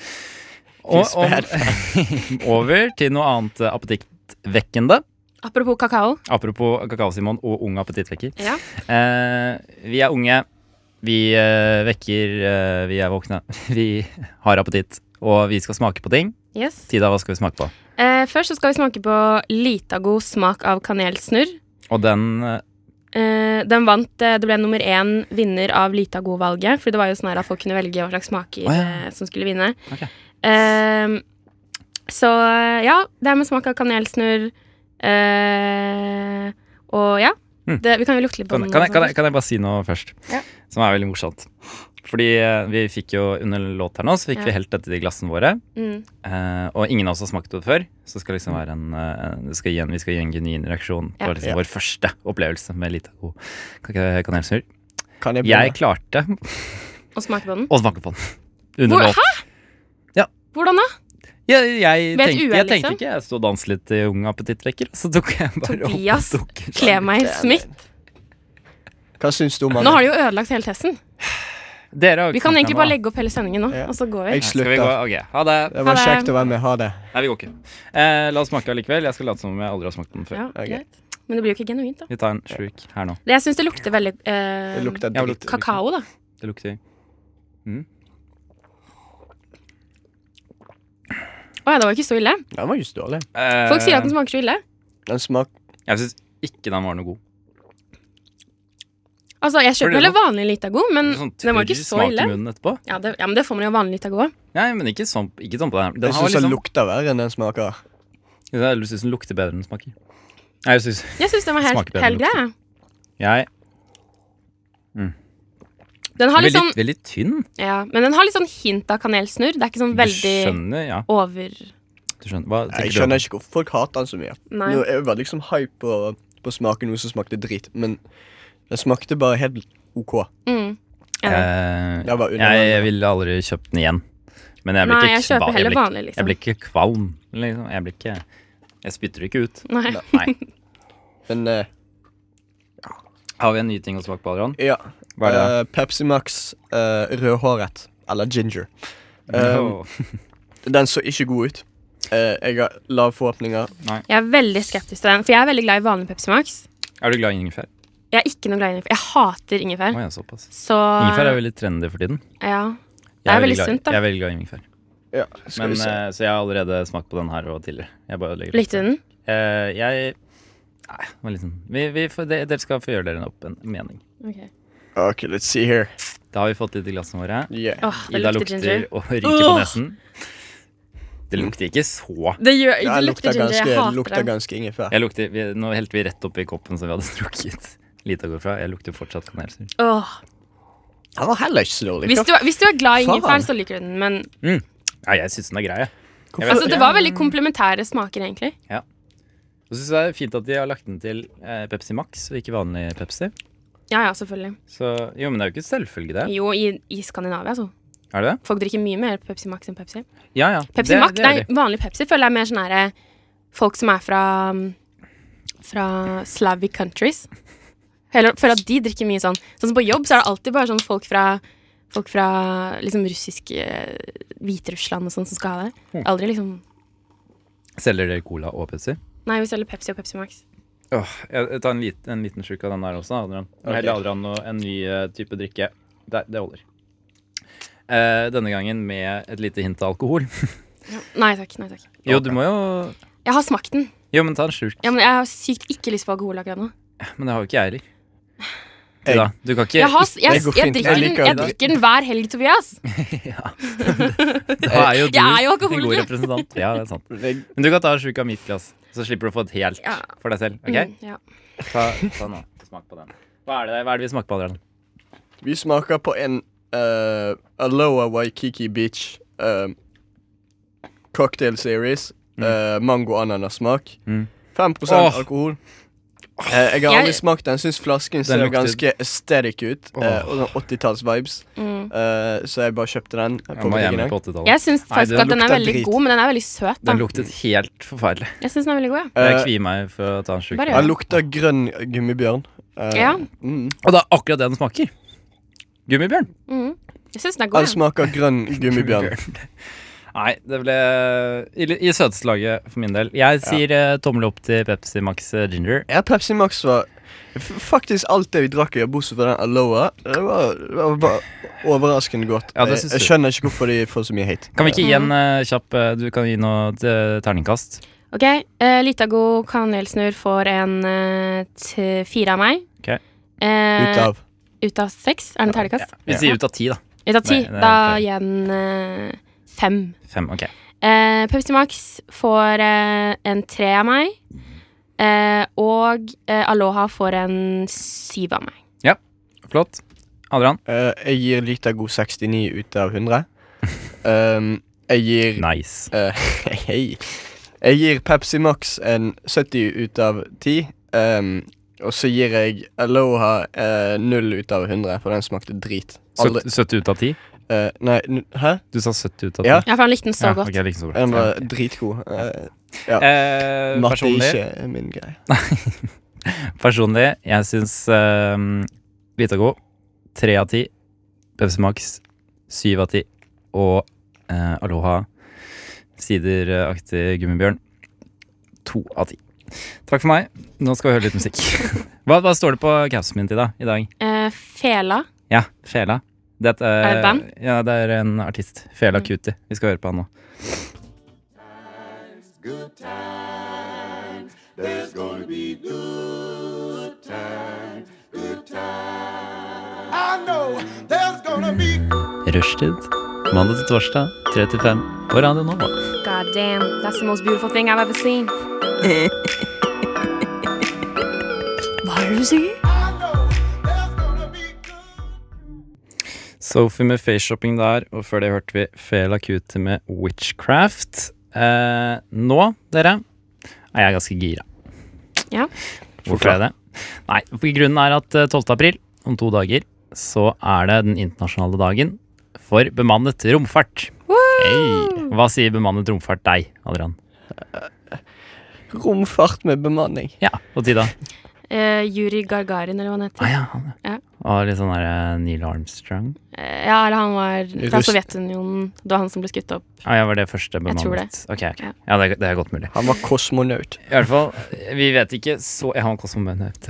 Too om- over til noe annet eh, appetittvekkende. Apropos kakao. Apropos Kakao-Simon og Ung appetittvekker. Ja. Eh, vi er unge. Vi eh, vekker, eh, vi er våkne. Vi har appetitt. Og vi skal smake på ting. Yes. Tida, hva skal vi smake på? Eh, først så skal vi smake på Litago smak av kanelsnurr. Og den eh, Eh, den vant, eh, det ble nummer én vinner av Litago-valget. For det var jo sånn her at folk kunne velge hva slags smaker Å, ja. eh, som skulle vinne. Ok. Eh, så eh, ja, det er med smak av kanelsnurr. Eh, og ja. Mm. Det, vi kan jo lukte litt på kan, den. kan, jeg, kan, jeg, kan jeg bare si noe først? Ja. Som er veldig morsomt. Fordi eh, vi fikk jo under låt her nå, så fikk Ja. vi helt dette i glassene våre. Mm. Eh, og ingen av oss har smakt det før, så det skal liksom være en, eh, det skal gi en, vi skal gi en genuin reaksjon på Ja. liksom Ja. vår første opplevelse med lite alkohol. Kan ikke kanelsnurr. Kan jeg Jeg begynne? klarte Og smake på den. å smake på den Hvor, under låt. hæ? Ja. Hvordan da? Jeg, jeg, tenkte, Ved et uhell, jeg tenkte liksom? ikke, jeg sto og danset litt i Ung appetittvekker, så tok jeg bare opp Tobias, og tok en kle meg i smitt. Hva syns du om Nå har han? du jo ødelagt hele testen. Dere har jo Vi ikke kan smakt egentlig den bare nå. legge opp hele sendingen nå, Ja. og så går vi. Jeg Skal vi gå? slutter. Ok, ha det. Det Ha var det. kjekt å være med. Ha det. Nei, vi går ikke. Eh, la oss smake allikevel. Jeg skal late som om jeg aldri har smakt den før. Ja, Ok. greit. Men det blir jo ikke genuint, da. Vi tar en slurk her nå. Det, jeg syns det lukter veldig eh, Det Jeg lukter dritt. lukter- kakao, da. Det lukter Å ja, det var ikke så ille. Den var ikke så dårlig. Eh, Folk sier at den smaker så ille. Den smak Jeg syns ikke den var noe god. Altså, For jeg det kjøper heller var- vanlig Litago, men Sånn den var tørr ikke så smak i ille. munnen etterpå. Ja, det, ja, men det får man jo av vanlig Litago òg. Nei, men ikke sånn, ikke sånn på den her. Den Jeg har syns den liksom lukter verre enn den smaker. Jeg syns den lukter bedre enn den smaker. Nei, jeg syns Jeg syns den var Smaker helt, bedre helt enn grei. jeg. Jeg Den har veldig, litt sånn veldig tynn. Ja, men den har litt sånn hint av kanelsnurr. Det er ikke sånn veldig Du skjønner, ja. over Du skjønner. Hva tenker Jeg du om- skjønner ikke hvorfor folk hater den så mye. Nei. Nå, jeg var liksom hype på, på å smake noe som smakte drit, men den smakte bare helt OK. mm. Eh, Jeg var under jeg, den. jeg ville aldri kjøpt den igjen. Men jeg blir Nei, ikke jeg kjøper kval- heller blir ikke- vanlig, liksom. Jeg blir ikke kvalm. Liksom. Jeg blir ikke Jeg spytter ikke ut. liksom. Nei. Nei. Men eh, Har vi en ny ting å smake på, Adrian? ja. Hva er det? Eh, Pepsi Max eh, rødhåret. Eller ginger. eh, Åh. Den så ikke god ut. Eh, jeg har lave forhåpninger. Jeg er veldig skeptisk til den, for jeg er veldig glad i vanlig Pepsi Max. Er du glad i ingefær? Jeg er ikke noe glad i ingefær. Jeg hater Å ingefær. ja, såpass. Så Ingefær er veldig trendy for tiden. Ja. Jeg Det er veldig glad i- sunt, da. Jeg er veldig glad i ingefær. Ja, skal Men, vi se. eh, så jeg har allerede smakt på den her og tidligere. Jeg bare legger opp. Likte du den? Eh, jeg Nei, det var litt sånn vi, vi får, de, Dere skal få gjøre dere opp en mening. OK, let's see here. Da har vi fått litt i glassene våre. Yeah. Åh, det Ida lukter lukter ginger. og ryker på Åh! nesen. Det lukter ikke så Det, gjør, Ja, det lukter lukter ginger. Jeg ganske, hater lukter den. ganske ingefær. Jeg lukter, vi, Nå helte vi rett oppi koppen som vi hadde drukket. Lita går fra. Jeg lukter fortsatt kanelsnurr. Åh. Den var heller ikke så dårlig. Hvis, du, er- hvis du er glad i Faen. ingefær, så liker du den, men Ja, jeg syns den er grei. jeg. Jeg vet altså, ikke. det var veldig komplementære smaker, egentlig. Og så synes jeg det er fint at de har lagt den til eh, Pepsi Max og ikke vanlig Pepsi. Ja, ja, selvfølgelig. Så, jo, men det er jo ikke selvfølge, det. Jo, i, i Skandinavia, altså. Er det det? Folk drikker mye mer Pepsi Max enn Pepsi. Ja, ja. Pepsi det, Max, det er nei, de. vanlig Pepsi føler jeg er mer sånn herre Folk som er fra Fra Slavic countries. Føler, føler at de drikker mye sånn. Sånn som på jobb, så er det alltid bare sånn folk fra Folk fra liksom russisk eh, Hviterussland og sånn som skal ha Hm. det. Aldri liksom Selger dere cola og Pepsi? Nei, vi selger Pepsi og Pepsi Max. Åh, jeg, jeg tar en, lit, en liten slurk av den der også, Adrian. Ok. Okay. Heller Adrian og en ny eh, type drikke. Det, det holder. Eh, denne gangen med et lite hint av alkohol. Nei takk. nei takk Jo, du må jo Jeg har smakt den. Jo, men ta en slurk. Ja, men jeg har sykt ikke lyst på alkohol akkurat nå. Men det har jo ikke jeg heller. Jeg- Ida, du kan ikke Jeg, har, jeg, Det går jeg, fint. drikker, Jeg den, liker jeg det. drikker den hver helg, Tobias. Da er jo du Jeg er jo en god alkoholiker. representant. Ja, det er sant. Jeg- Men du kan ta en slurk av mitt glass, så slipper du å få et helt Ja. for deg selv. Ok? Mm, ja. Ta, ta nå. Smak på den. Hva er det, hva er det vi smaker på, Adrian? Vi smaker på en eh, Aloha Waikiki Beach eh, cocktail series. eh, Mango-ananas-smak. Mm. 5 Åh. alkohol. Eh, jeg har aldri Jeg- smakt den. Syns flasken ser lukter- ganske aesthetic ut. eh, Åh. og sånn 80-talls-vibes. Mm. Eh, så jeg bare kjøpte den. På Jeg må hjemme butikken. på 80-tallet. Jeg syns Nei, faktisk den at den er lukter veldig drit. god, men den er veldig søt. Da. Den luktet helt forferdelig. Jeg syns den er veldig god, ja. Eh, Jeg kvier meg for å ta en slurk. Bare gjør den lukter grønn gummibjørn. Eh, Ja. mm. Og det er akkurat det den smaker. Gummibjørn. Mm. Jeg syns den er Den god. Ja. smaker grønn gummibjørn. Nei, det ble i, i søtslaget for min del. Jeg sier eh, tommel opp til Pepsi Max eh, Ginger. Ja, Pepsi Max var f- faktisk alt det vi drakk i bortsett fra den Aloha. Det var, det var bare overraskende godt. Ja, det jeg, syns jeg du. skjønner ikke hvorfor de får så mye hate. Kan vi ikke gi en eh, kjapp eh, Du kan gi noe eh, terningkast. Ok, eh, Litago kanelsnurr får en eh, t fire av meg. Ok. Ut Eh, av ut av seks? Er det terningkast? Vi sier ut av ti, da. Ut av ti. Nei, det er Da feil. gir jeg den eh, fem. Fem. Ok. Eh, Pepsi Max får eh, en tre av meg. Eh, og eh, Aloha får en syv av meg. Flott. Adrian? Eh, jeg gir Litago 69 ut av 100. Um, jeg gir Nice. eh, Hei. Jeg gir Pepsi Max en 70 ut av 10. Um, og så gir jeg Aloha eh, 0 ut av 100, for den smakte drit. 70, Aldri, 70 ut av 10? eh, nei, n hæ? Du sa 70 ut av 10? Ja. Ja, for han likte den så Ja, godt. ok, liksom så bra. Den var Ja. dritgod. Eh, Eh, matte er personlig, ikke min greie. personlig, jeg syns eh, Litago 3 av 10. Pepsi Max 7 av 10. Og eh, Aloha sideraktig gummibjørn 2 av 10. Takk for meg. Nå skal vi høre litt musikk. Hva, hva står det på capsen min til da, i dag? Eh, fela. Ja, Fela. Dette, Er det et band? eh, Ja, det er en artist. Fela Mm. Kuti. Vi skal høre på han nå. Rushtid. Mandag til torsdag, 3 til 5 på Radio Nova. God damn, that's the most beautiful thing I've ever seen. Hva er det du sier? Sophie med faceshopping der, og før det hørte vi Fela Kuti med Witchcraft. Eh, nå, dere, er jeg ganske gira. Ja. Hvorfor er det? Nei, for grunnen er at eh, 12. april, om to dager, så er det den internasjonale dagen for bemannet romfart. Hei! Hva sier bemannet romfart deg, Adrian? Romfart med bemanning. Ja, og Tida? Eh, Yuri Gargarin, eller hva han heter. Ah, ja, han, Ja. Og litt sånn der eh, Neil Armstrong. Eh, ja, eller han var fra Russ- Sovjetunionen. Det var han som ble skutt opp. Ah, ja, var det første bemannet? tror Ok, ok. Ja. Ja, det, er- det er godt mulig. Han var kosmonaut. I hvert fall, vi vet ikke så Jeg har en kosmonaut.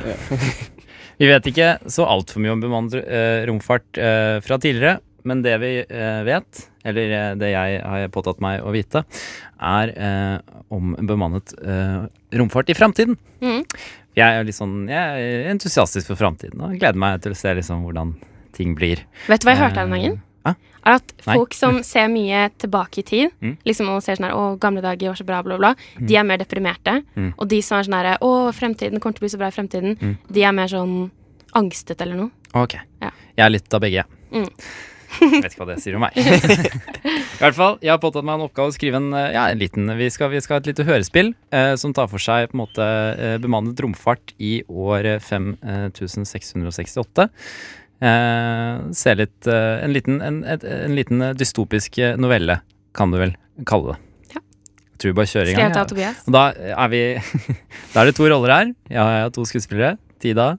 vi vet ikke så altfor mye om bemannet eh, romfart eh, fra tidligere, men det vi eh, vet, eller eh, det jeg har påtatt meg å vite, er eh, om bemannet eh, romfart i framtiden. Mhm. Jeg er litt sånn Jeg er entusiastisk for framtiden og gleder meg til å se liksom hvordan ting blir. Vet du hva jeg hørte her om dagen? Hæ? Er at Eh, Nei. folk som ser mye tilbake i tid, Mm. liksom og ser sånn her 'Å, gamle dager var så bra', bla, bla, de er mer deprimerte. Mm. Og de som er sånn her 'Å, fremtiden kommer til å bli så bra i fremtiden', Mm. de er mer sånn angstet eller noe. Ok. Ja. Jeg er litt av begge, jeg. Mm. Vet ikke hva det sier om meg. I hvert fall, Jeg har påtatt meg en oppgave å skrive en eh, ja, en liten Vi skal, vi skal ha et lite hørespill eh, som tar for seg på en måte eh, bemannet romfart i år eh, 5668. Eh, se litt eh, En liten, en, et, en liten eh, dystopisk eh, novelle, kan du vel kalle det. Ja. Tror vi bare kjører i gang. Skrevet av Tobias. Og Da er vi Da er det to roller her. Ja, jeg har to skuespillere. Tida,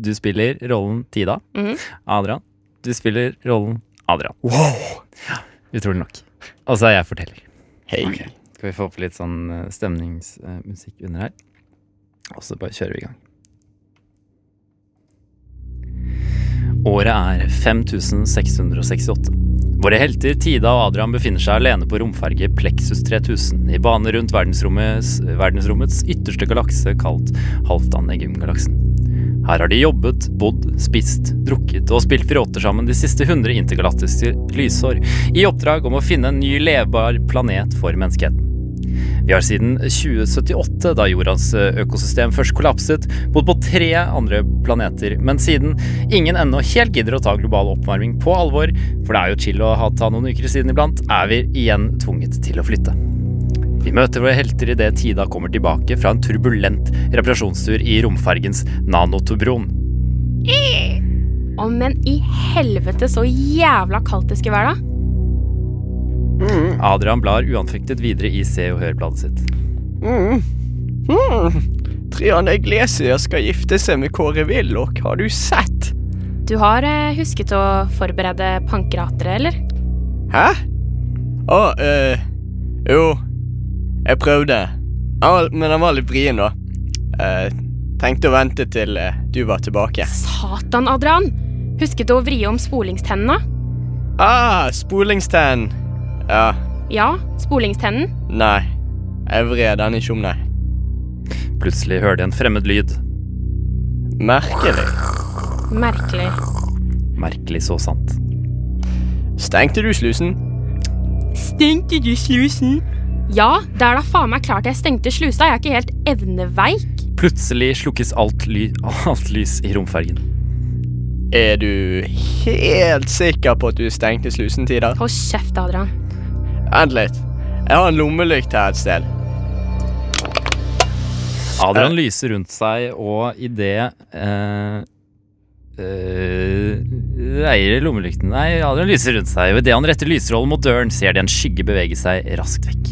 du spiller rollen Tida. Mhm. Adrian, du spiller rollen Adrian. Wow! Utrolig nok. Og så er jeg forteller. Hei. Skal vi få på litt sånn stemningsmusikk under her? Og så bare kjører vi i gang. Året er 5668. Våre helter Tida og Adrian befinner seg alene på romferge Plexus 3000 i bane rundt verdensrommets, verdensrommets ytterste galakse kalt Halvdan Egum-galaksen. Her har de jobbet, bodd, spist, drukket og spilt piroter sammen de siste 100 intergalaktiske lysår, i oppdrag om å finne en ny levbar planet for menneskeheten. Vi har siden 2078, da jordas eh, økosystem først kollapset, bodd på tre andre planeter, men siden ingen ennå helt gidder å ta global oppvarming på alvor, for det er jo chill å ha ta noen uker siden iblant, er vi igjen tvunget til å flytte. Vi møter våre helter idet Tida kommer tilbake fra en turbulent reparasjonstur i romfergens nanotubron. Å, men i helvete så jævla kaldt det skulle være, da! Mm, Adrian blar uanfektet videre i Se og Hør-bladet sitt. mm, Triana Iglesias Mm. skal gifte seg med Kåre Willoch, har du sett? Du har eh, husket å forberede pankeratere, eller? Hæ? Å, eh Jo, jeg prøvde. Han var, men han var litt vrien, da. Eh, tenkte å vente til eh, du var tilbake. Satan, Adrian! Husket du å vri om spolingstennene? Ah, spolingstenn. Ja. Ja, spolingstennen. Nei. Jeg vred den ikke om, nei. Plutselig hører de en fremmed lyd. Merkelig. Merkelig. Merkelig så sant. Stengte du slusen? Stengte du slusen? Ja, det er da faen meg klart jeg stengte slusa. Jeg er ikke helt evneveik. Plutselig slukkes alt, ly alt lys i romfergen. Er du helt sikker på at du stengte slusentider? Hold kjeft, Adrian. Vent litt. Jeg har en lommelykt her et sted. Adrian lyser rundt seg, og idet eh, eh, Eier lommelykten Nei, Adrian lyser rundt seg, og idet han retter lyserollen mot døren, ser de en skygge bevege seg raskt vekk.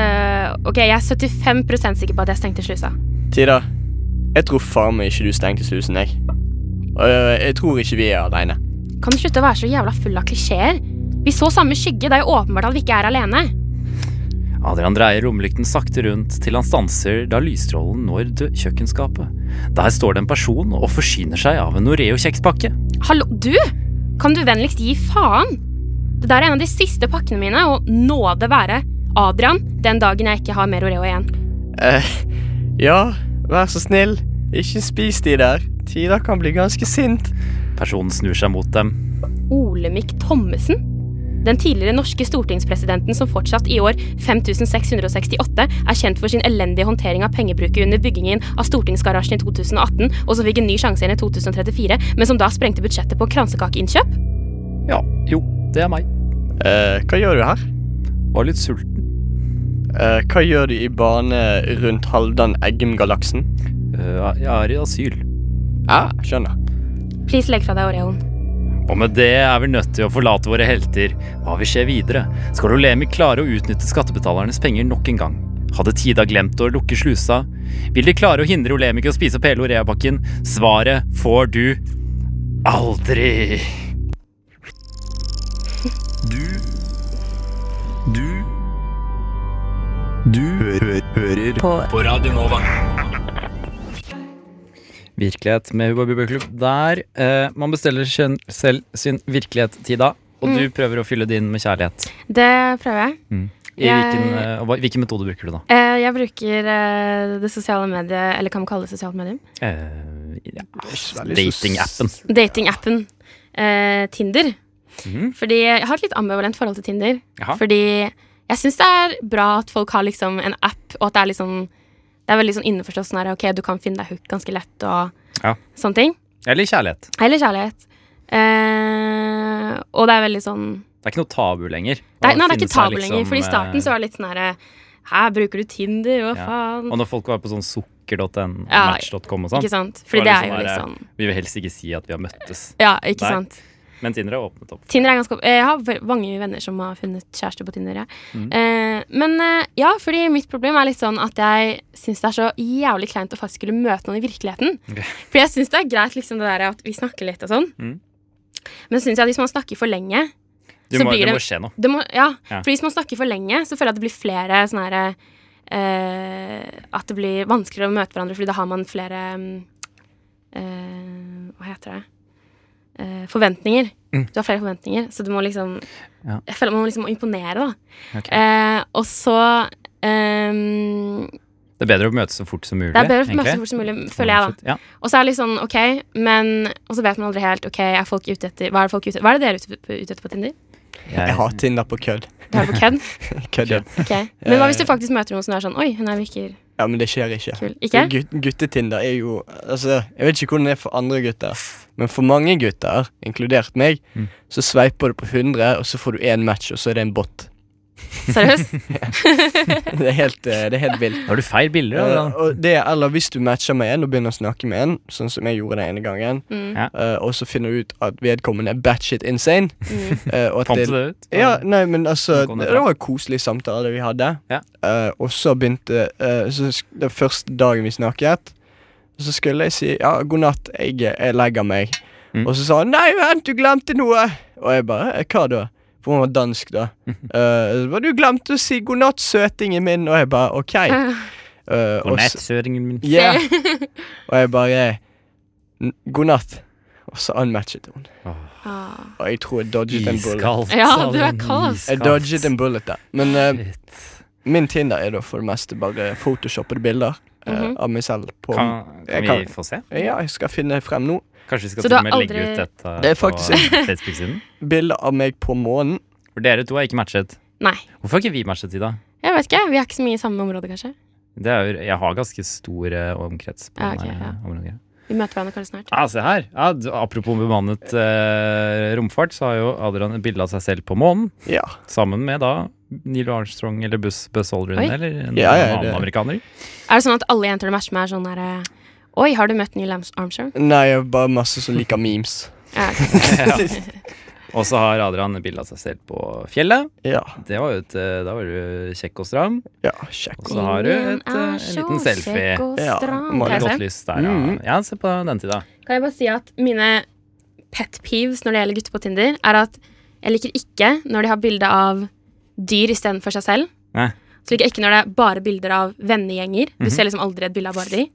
Eh, ok, jeg er 75 sikker på at jeg stengte slusa. Tida, jeg tror faen meg ikke du stengte slusen, jeg. Og øh, jeg tror ikke vi er aleine. Kan du slutte å være så jævla full av klisjeer? Vi så samme skygge. Det er jo åpenbart at vi ikke er alene. Adrian dreier lommelykten sakte rundt til han stanser da lysstrålen når dø- kjøkkenskapet. Der står det en person og forsyner seg av en Oreo-kjekspakke. Hallo, du! Kan du vennligst gi faen? Det der er en av de siste pakkene mine, og nåde være Adrian den dagen jeg ikke har mer Oreo igjen. ja, vær så snill. Ikke spis de der. Tida kan bli ganske sint. Personen snur seg mot dem. Olemic Thommessen? Den tidligere norske stortingspresidenten som fortsatt i år 5668 er kjent for sin elendige håndtering av pengebruket under byggingen av stortingsgarasjen i 2018, og som fikk en ny sjanse igjen i 2034, men som da sprengte budsjettet på kransekakeinnkjøp? Ja, jo, det er meg. Eh, hva gjør du her? Var litt sulten. Eh, hva gjør du i bane rundt Halvdan Eggum-galaksen? Eh, jeg er i asyl. Ja, Ah, skjønner. Please legg fra deg Oreoen. Og med det er vi nødt til å forlate våre helter. Hva vil skje videre? Skal Olemi klare å utnytte skattebetalernes penger nok en gang? Hadde Tida glemt å lukke slusa? Vil de klare å hindre Olemi i å spise opp hele Oreabakken? Svaret får du aldri! Du Du Du hø hø hører på. på Radio Nova. Virkelighet med Hubba Bubba Klubb der. Eh, man bestiller sin, selv sin virkelighet, Tida. Og Mm. du prøver å fylle din med kjærlighet. Det prøver jeg. I hvilken, Jeg- eh, og hva- hvilken metode bruker du da? Eh, Jeg bruker eh, det sosiale mediet, eller kan man kalle det sosialt medium? Eh, ja, veldig Datingappen. Datingappen eh, Tinder. Mhm. Fordi jeg har et litt ambivalent forhold til Tinder. Jaha. Fordi jeg syns det er bra at folk har liksom en app, og at det er liksom Det er veldig sånn innforstått sånn her, ok, du kan finne deg hook ganske lett og Ja. sånne ting. Eller kjærlighet. Eller kjærlighet. Eh, og det er veldig sånn Det er ikke noe tabu lenger. det er, Å Nei, det er finne ikke seg tabu lenger, liksom, for i starten så var det litt sånn herre Her bruker du Tinder, hva Ja. faen? Og når folk var på sånn sukker.n, Ja, match.com og Ikke sånn, sant? Fordi var det det er jo sånn litt der, sånn vi vil helst ikke si at vi har møttes. Ja, ikke Nei. sant? Men Tinder har åpnet opp. Tinder er ganske opp- eh, Jeg har ve- mange venner som har funnet kjæreste på Tinder. Ja. Mm. Eh, men eh, ja, fordi mitt problem er litt sånn at jeg syns det er så jævlig kleint å faktisk skulle møte noen i virkeligheten. Ok. For jeg syns det er greit liksom det der at vi snakker litt og sånn. Mm. Men syns jeg at hvis man snakker for lenge Du Så må, blir det det- må skje noe. det må, ja, Ja. for hvis man snakker for lenge, så føler jeg at det blir flere sånne her eh, At det blir vanskeligere å møte hverandre, fordi da har man flere mm, eh, Hva heter det? Eh, forventninger. Du har flere forventninger, så du må liksom Mm. Ja. Jeg føler man må liksom imponere, da. Ok. Eh, og så ehm, Det er bedre å møtes så fort som mulig. Det er bedre å møtes egentlig. så fort som mulig, føler jeg, da. Ja. Og så er det litt sånn, ok, men Og så vet man aldri helt, ok, er folk ute etter Hva er det folk ute etter? Hva er det dere er ute, ute etter på Tinder? Jeg Jeg, har Tinder på kødd. Du har det på kødd? Kødder. Ok. Men hva hvis du faktisk møter noen som er sånn Oi, hun her virker Ja, men det skjer ikke. kul. Ikke? Gut guttetinder er jo altså, Jeg vet ikke hvordan det er for andre gutter, men for mange gutter, inkludert meg, Mm. så sveiper du på 100, og så får du én match, og så er det en bot. Seriøst? Det er helt, eh, det er helt vilt. har du feil bilder? Eh, Adrian? og det, eller hvis du matcher med en og begynner å snakke med en, sånn som jeg gjorde den ene gangen, Mm. Ja. eh, og så finner du ut at vedkommende er batshit insane Mm. eh, og at Fant det, du det ut? Ja, nei, men altså Nå kom Sånn. det Det det fram. var en koselig samtale vi hadde. Ja. Eh, og så begynte eh, så sk- Den første dagen vi snakket, så skulle jeg si ja, 'god natt, jeg, jeg legger meg'. Mm. Og så sa han 'nei, vent, du glemte noe'. Og jeg bare «Eh, 'hva da'? For hun var dansk, da. Mm. Eh, så bare, 'Du glemte å si 'god natt, søtingen min', og jeg bare 'ok'. Eh, På og s- nettkjøringen min. Ja. Og jeg bare «N- 'god natt'. Og så unmatchet hun. Ah. Og jeg tror jeg dodget en bullet. Iskaldt. Ja, du er Adrian, kald. Jeg iskaldt. dodget en bullet der. Men eh, Shit. Min Tinder er da for det meste bare photoshoppede bilder eh, Mhm. av meg selv. På, Kan, Jeg kan vi kan- få se? Ja, jeg skal finne frem nå. Kanskje vi skal Så til du og har med legge aldri- ut dette Det er på faktisk- Facebook-siden? Bilder av meg på månen. For dere to er ikke matchet. Nei. Hvorfor har ikke vi matchet, Ida? Jeg vet ikke. Vi er ikke så mye i samme område, kanskje. Det er, jo- jeg har ganske stor eh, omkrets på Ja, ok, denne ja. området. Vi møter hverandre kanskje snart. Ja, se her. Ja, d- apropos bemannet eh, romfart, så har jo Adrian et bilde av seg selv på månen. Ja. Sammen med da Neil Armstrong eller Buzz, Buzz Aldrin Oi. eller en Ja, ja, annen det- amerikaner. Er det sånn at alle jenter du matcher med, er sånn derre Oi, har du møtt Neil Arms- Armstrong? Nei, jeg er bare masse som liker memes. Ja, ok. Og så har Adrian et bilde av seg selv på fjellet. Ja. Det var jo et, eh, da var du kjekk og stram. ja sjekk. Og så har du Ingen et, eh, er en liten så selfie. kjekk og Ja, stram. Kan Marit jeg se? Mm. Godt lys der, ja. Mhm. ja. Se på den tida. Kan jeg bare si at mine pet peeves når det gjelder gutter på Tinder, er at jeg liker ikke når de har bilde av dyr istedenfor seg selv. Nei. Så liker jeg ikke når det er bare bilder av vennegjenger. Du Mhm. ser liksom aldri et bilde av bare de.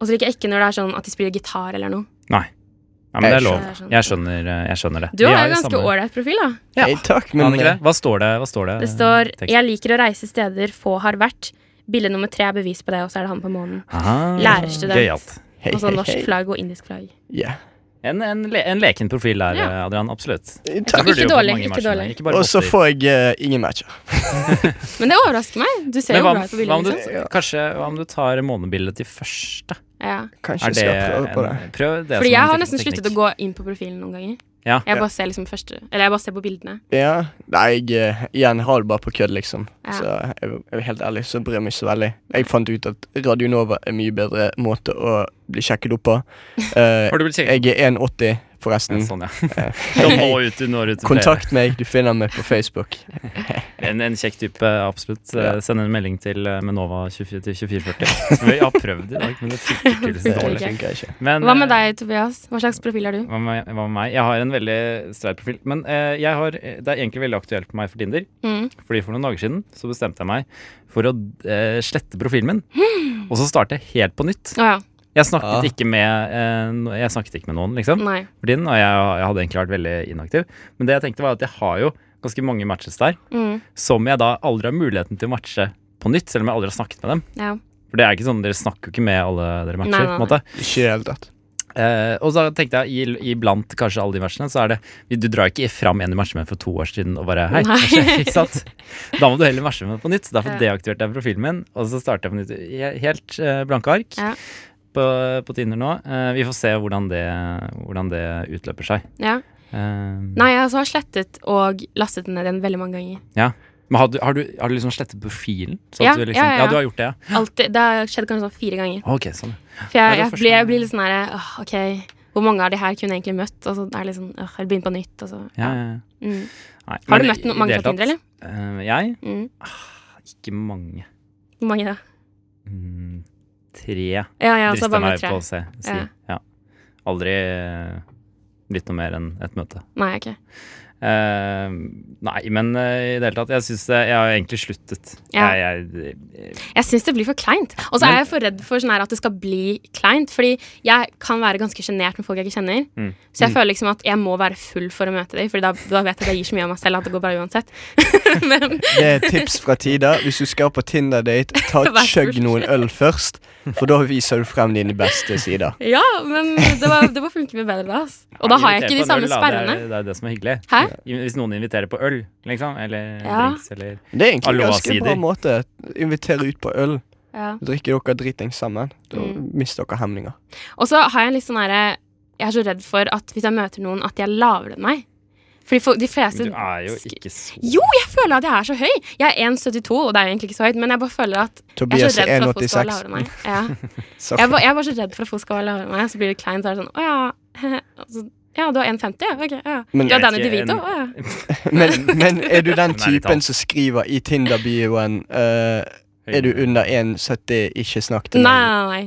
Og så liker jeg ikke når det er sånn at de spiller gitar eller noe. Ja, men det Jeg er lov. skjønner. Jeg skjønner, eh, jeg skjønner det. Du Vi har jo jo ganske samme- ålreit profil, da. Ja. Hei, takk, Har men han ikke det? Hva står det? Hva står det? Det står Tekst. 'Jeg liker å reise steder få har vært'. Bilde nummer tre er bevis på det, og så er det han på månen. Ah, Lærerstudent. Gøyalt. eh, Hei, Og så hei, Altså, norsk hei. flagg og indisk flagg. Yeah. En, en, le en leken profil der, eh, Ja. Adrian. Absolutt. Takk. Du burde jo Ikke fått dårlig, mange ikke matcher, dårlig. nei. Ikke bare Og så botter. får jeg eh, ingen matcher. Men det overrasker meg. Du ser Men jo hva, bra ut på om- hva bildet. om du, Liksom. kanskje, hva om du tar månebildet til første? Ja. Kanskje Er jeg det skal prøve på det. en, prøv det Fordi jeg har nesten sluttet å gå inn på profilen noen ganger. Ja. Jeg bare ser liksom første Eller jeg bare ser på bildene. Ja. Nei, jeg eh, igjen har det bare på kødd, liksom. Ja. Så jeg, jeg er helt ærlig, så bryr jeg meg ikke så veldig. Jeg fant ut at Radio Nova er en mye bedre måte å bli sjekket opp på. Eh, Har du blitt kjent? jeg er 1,80, forresten. Sånn, ja. Eh, Du hei, hei. når ut, du når ut til Kontakt meg, du finner meg på Facebook. flere. En, en kjekk type, absolutt. Eh, Ja. Send en melding til eh, Menova 24 til 2440. Vi har prøvd i dag, men det funker tydeligvis Det dårlig. ikke. funker ikke. Men, Hva med eh, deg, Tobias? Hva slags profil er du? Hva med, hva med meg? Jeg har en veldig streit profil. Men eh, jeg har, det er egentlig veldig aktuelt for meg for Tinder. Mm. Fordi For noen dager siden så bestemte jeg meg for å eh, slette profilen min. Og så starte helt på nytt. Å Hmm. ja. Mm. Jeg snakket, Ja. ikke, med, eh, no- jeg snakket ikke med noen, liksom. Nei. For tiden, og jeg, jeg hadde egentlig vært veldig inaktiv. Men det jeg tenkte var at jeg har jo ganske mange matches der Mm. som jeg da aldri har muligheten til å matche på nytt, selv om jeg aldri har snakket med dem. Ja. For det er ikke sånn, Dere snakker jo ikke med alle dere matcher. Nei, nei, på en måte. Ikke i det hele tatt. Eh, og så tenkte jeg, i- iblant kanskje alle de matchene, så er det Du drar ikke fram en du matchet med for to år siden og bare Hei, hva skjer? Ikke sant? Da må du heller matche med på nytt. Derfor Ja. deaktiverte jeg profilen min, og så startet jeg på nytt. He- Helt eh, blanke ark Ja. på, på Tinder nå. Eh, vi får se hvordan det, hvordan det utløper seg. ja. Eh, Nei, jeg altså har slettet og lastet ned den veldig mange ganger. Men har du, har, du, har du liksom slettet profilen? Så Ja, at du liksom, ja, ja, ja. du har gjort det, ja. Alltid, det har skjedd kanskje sånn fire ganger. Ok, sånn. For jeg, det jeg, forstår blir, jeg jeg. blir litt sånn herre åh, OK, hvor mange av de her kunne jeg egentlig møtt? Og så er det litt sånn åh, jeg begynner på nytt. Og så, Ja, ja. ja. ja. Mm. Nei, Har du men møtt i- no i mange det fra hele Tinder, eller? tatt, eh, jeg? Mm. Ikke mange. Hvor mange da? Mm, tre. Ja, ja, så Drista bare meg på med tre. å se. Si. Ja. Ja. Aldri eh, blitt noe mer enn et møte. Nei, ok. Eh, nei, men eh, i det hele tatt Jeg synes eh, jeg har egentlig sluttet. Ja. Jeg, eh, jeg, jeg, Jeg syns det blir for kleint. Og så Men- er jeg for redd for sånn her at det skal bli kleint. Fordi jeg kan være ganske sjenert med folk jeg ikke kjenner. Mm. Så jeg føler liksom at jeg må være full for å møte dem, Fordi da, da vet jeg at jeg gir så mye av meg selv at det går bra uansett. Men Det er et tips fra Tida. Hvis du skal på Tinder-date, ta et Vær så chug noen øl først. For da viser du frem dine beste sider. ja, men det var, det var funket mye bedre da. ass. Og da har jeg ikke de samme sperrene. Det er, det er det som er hyggelig. Hæ? I- Hvis noen inviterer på øl, liksom, eller Ja. drinks, eller Det er egentlig en Aloha ganske bra sider. måte. Invitere ut på øl. Ja. Drikker dere dritings sammen, da Mm. mister dere hemninger. Og så har jeg en litt sånn herre Jeg er så redd for at hvis jeg møter noen, at de er lavere enn meg. Fordi for de fleste Men Du ah. er jo ikke så Altså, Jo, jeg føler at jeg er så høy! Jeg er 1,72, og det er jo egentlig ikke så høyt, men jeg bare føler at jeg er Tobias så er redd for at folk skal være 1,86. lavere enn meg. Ja. Så- Jeg var, jeg var så redd for at folk skal være lavere enn meg, så blir det kleint. Så er det sånn, å ja, hehe». Og så, ja, du har 1,50, ja. Ok, ja. Du har Men jeg er Danny ikke DeVito, en- å ja. Men, men er du den Ærlig talt. typen som skriver i Tinder-bioen eh, Er du under 1,70, ikke snakk til Nei, meg?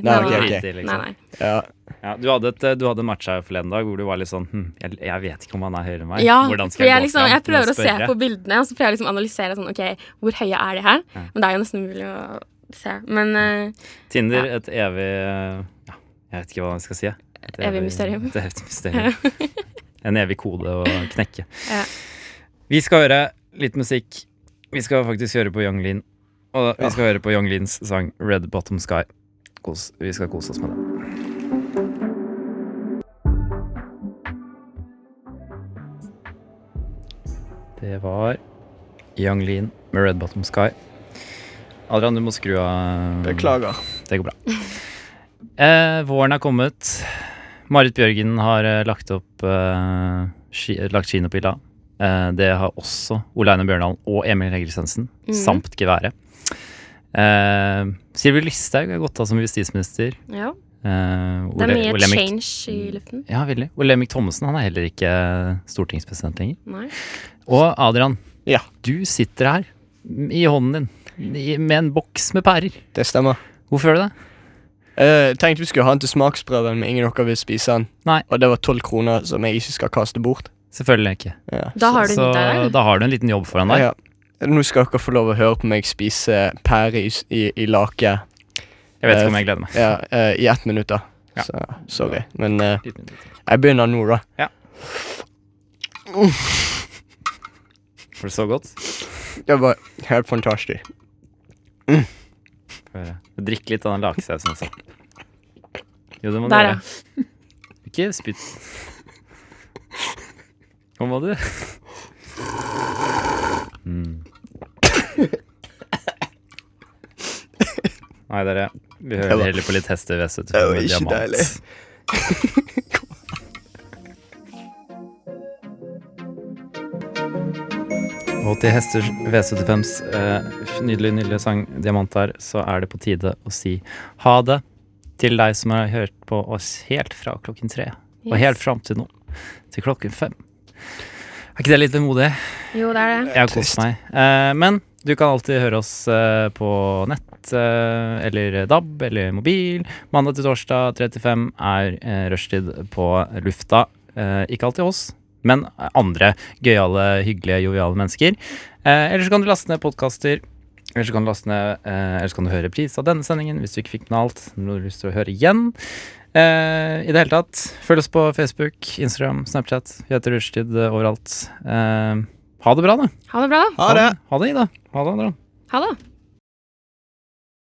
nei, nei. Nei, nei, ok, nei, ok. Riktig, liksom. nei, nei. Ja. Ja, du, hadde et, eh, du hadde en match her forleden dag hvor du var litt sånn hm, jeg, jeg vet ikke om han er høyere enn meg. Ja, Hvordan for skal jeg, jeg, gå liksom, fram jeg til å prøver å se spørre? på bildene, og så prøver jeg liksom å analysere sånn, ok, hvor høye er de her? Ja. Men det er jo nesten umulig å se. Men eh, Tinder, et evig eh, ja, Jeg vet ikke hva jeg skal si. jeg. Et Evig mysterium. Et evig mysterium. en evig kode å knekke. Ja. Vi skal høre litt musikk. Vi skal faktisk høre på Young Lin. Og vi skal høre på Young Lins sang 'Red Bottom Sky'. Kos, vi skal kose oss med det. Det var Young Lin med 'Red Bottom Sky'. Adrian, du må skru av Beklager. det går bra. Eh, våren er kommet. Marit Bjørgen har eh, lagt opp eh, ski, lagt skien opp i la. Eh, det har også Ole Einar Bjørndalen og Emil Hegel Sensen, Mhm. samt geværet. Eh, Sylvi Listhaug har gått av som justisminister. Ja. Eh, Det er Ole- mye Ole Emik- change i luften. Ja, veldig. Olemic Thommessen han er heller ikke eh, stortingspresident lenger. Nei. Og Adrian, Ja. du sitter her m- i hånden din i- med en boks med pærer. Det stemmer. Hvorfor gjør du det? Eh, tenkte vi skulle ha den til smaksprøven, men ingen av dere vil spise den. Nei. Og det var tolv kroner som jeg ikke skal kaste bort. Selvfølgelig ikke. Ja. Da har du Så nytt av det. da har du en liten jobb foran deg. Ja. Nå skal dere få lov å høre på meg spise pære i, s- i, i lake Jeg vet ikke om jeg gleder meg. ja, eh, i ett minutt, da. Ja. Så sorry. Men eh, Liten, liten. jeg begynner nå, da. Var det så godt? Det var helt fantastisk. Får jeg- Drikk litt av den lakesausen også. Jo, det må du Der, ja. gjøre. Ikke spytt. Hva må du? Mm. Nei, dere. Vi Det hører var- heller på litt hestehvess. vet du, Det var med ikke diamant. deilig. Og til Hesters V75s eh, nydelige, nydelige sang 'Diamant' her, så er det på tide å si ha det til deg som har hørt på oss helt fra klokken tre og helt Yes. fram til nå, til klokken fem. Er ikke det litt vemodig? Jo, det er det. Jeg har kost Trist. meg. Eh, men du kan alltid høre oss eh, på nett eh, eller DAB eller mobil. Mandag til torsdag 35 er eh, rushtid på lufta. Eh, ikke alltid oss, men andre gøyale, hyggelige, joviale mennesker. Eh, eller så kan du laste ned podkaster. Eller så kan du laste ned eh, Eller så kan du høre reprise av denne sendingen hvis du ikke fikk med alt. Når du har lyst til å høre igjen. Eh, I det hele tatt, følg oss på Facebook, Instagram, Snapchat. Vi heter Rushtid eh, overalt. Eh, ha det bra, da. Ha det bra, da. Ha det! Ha det, Ida. Ha det, Adrian. Ha det.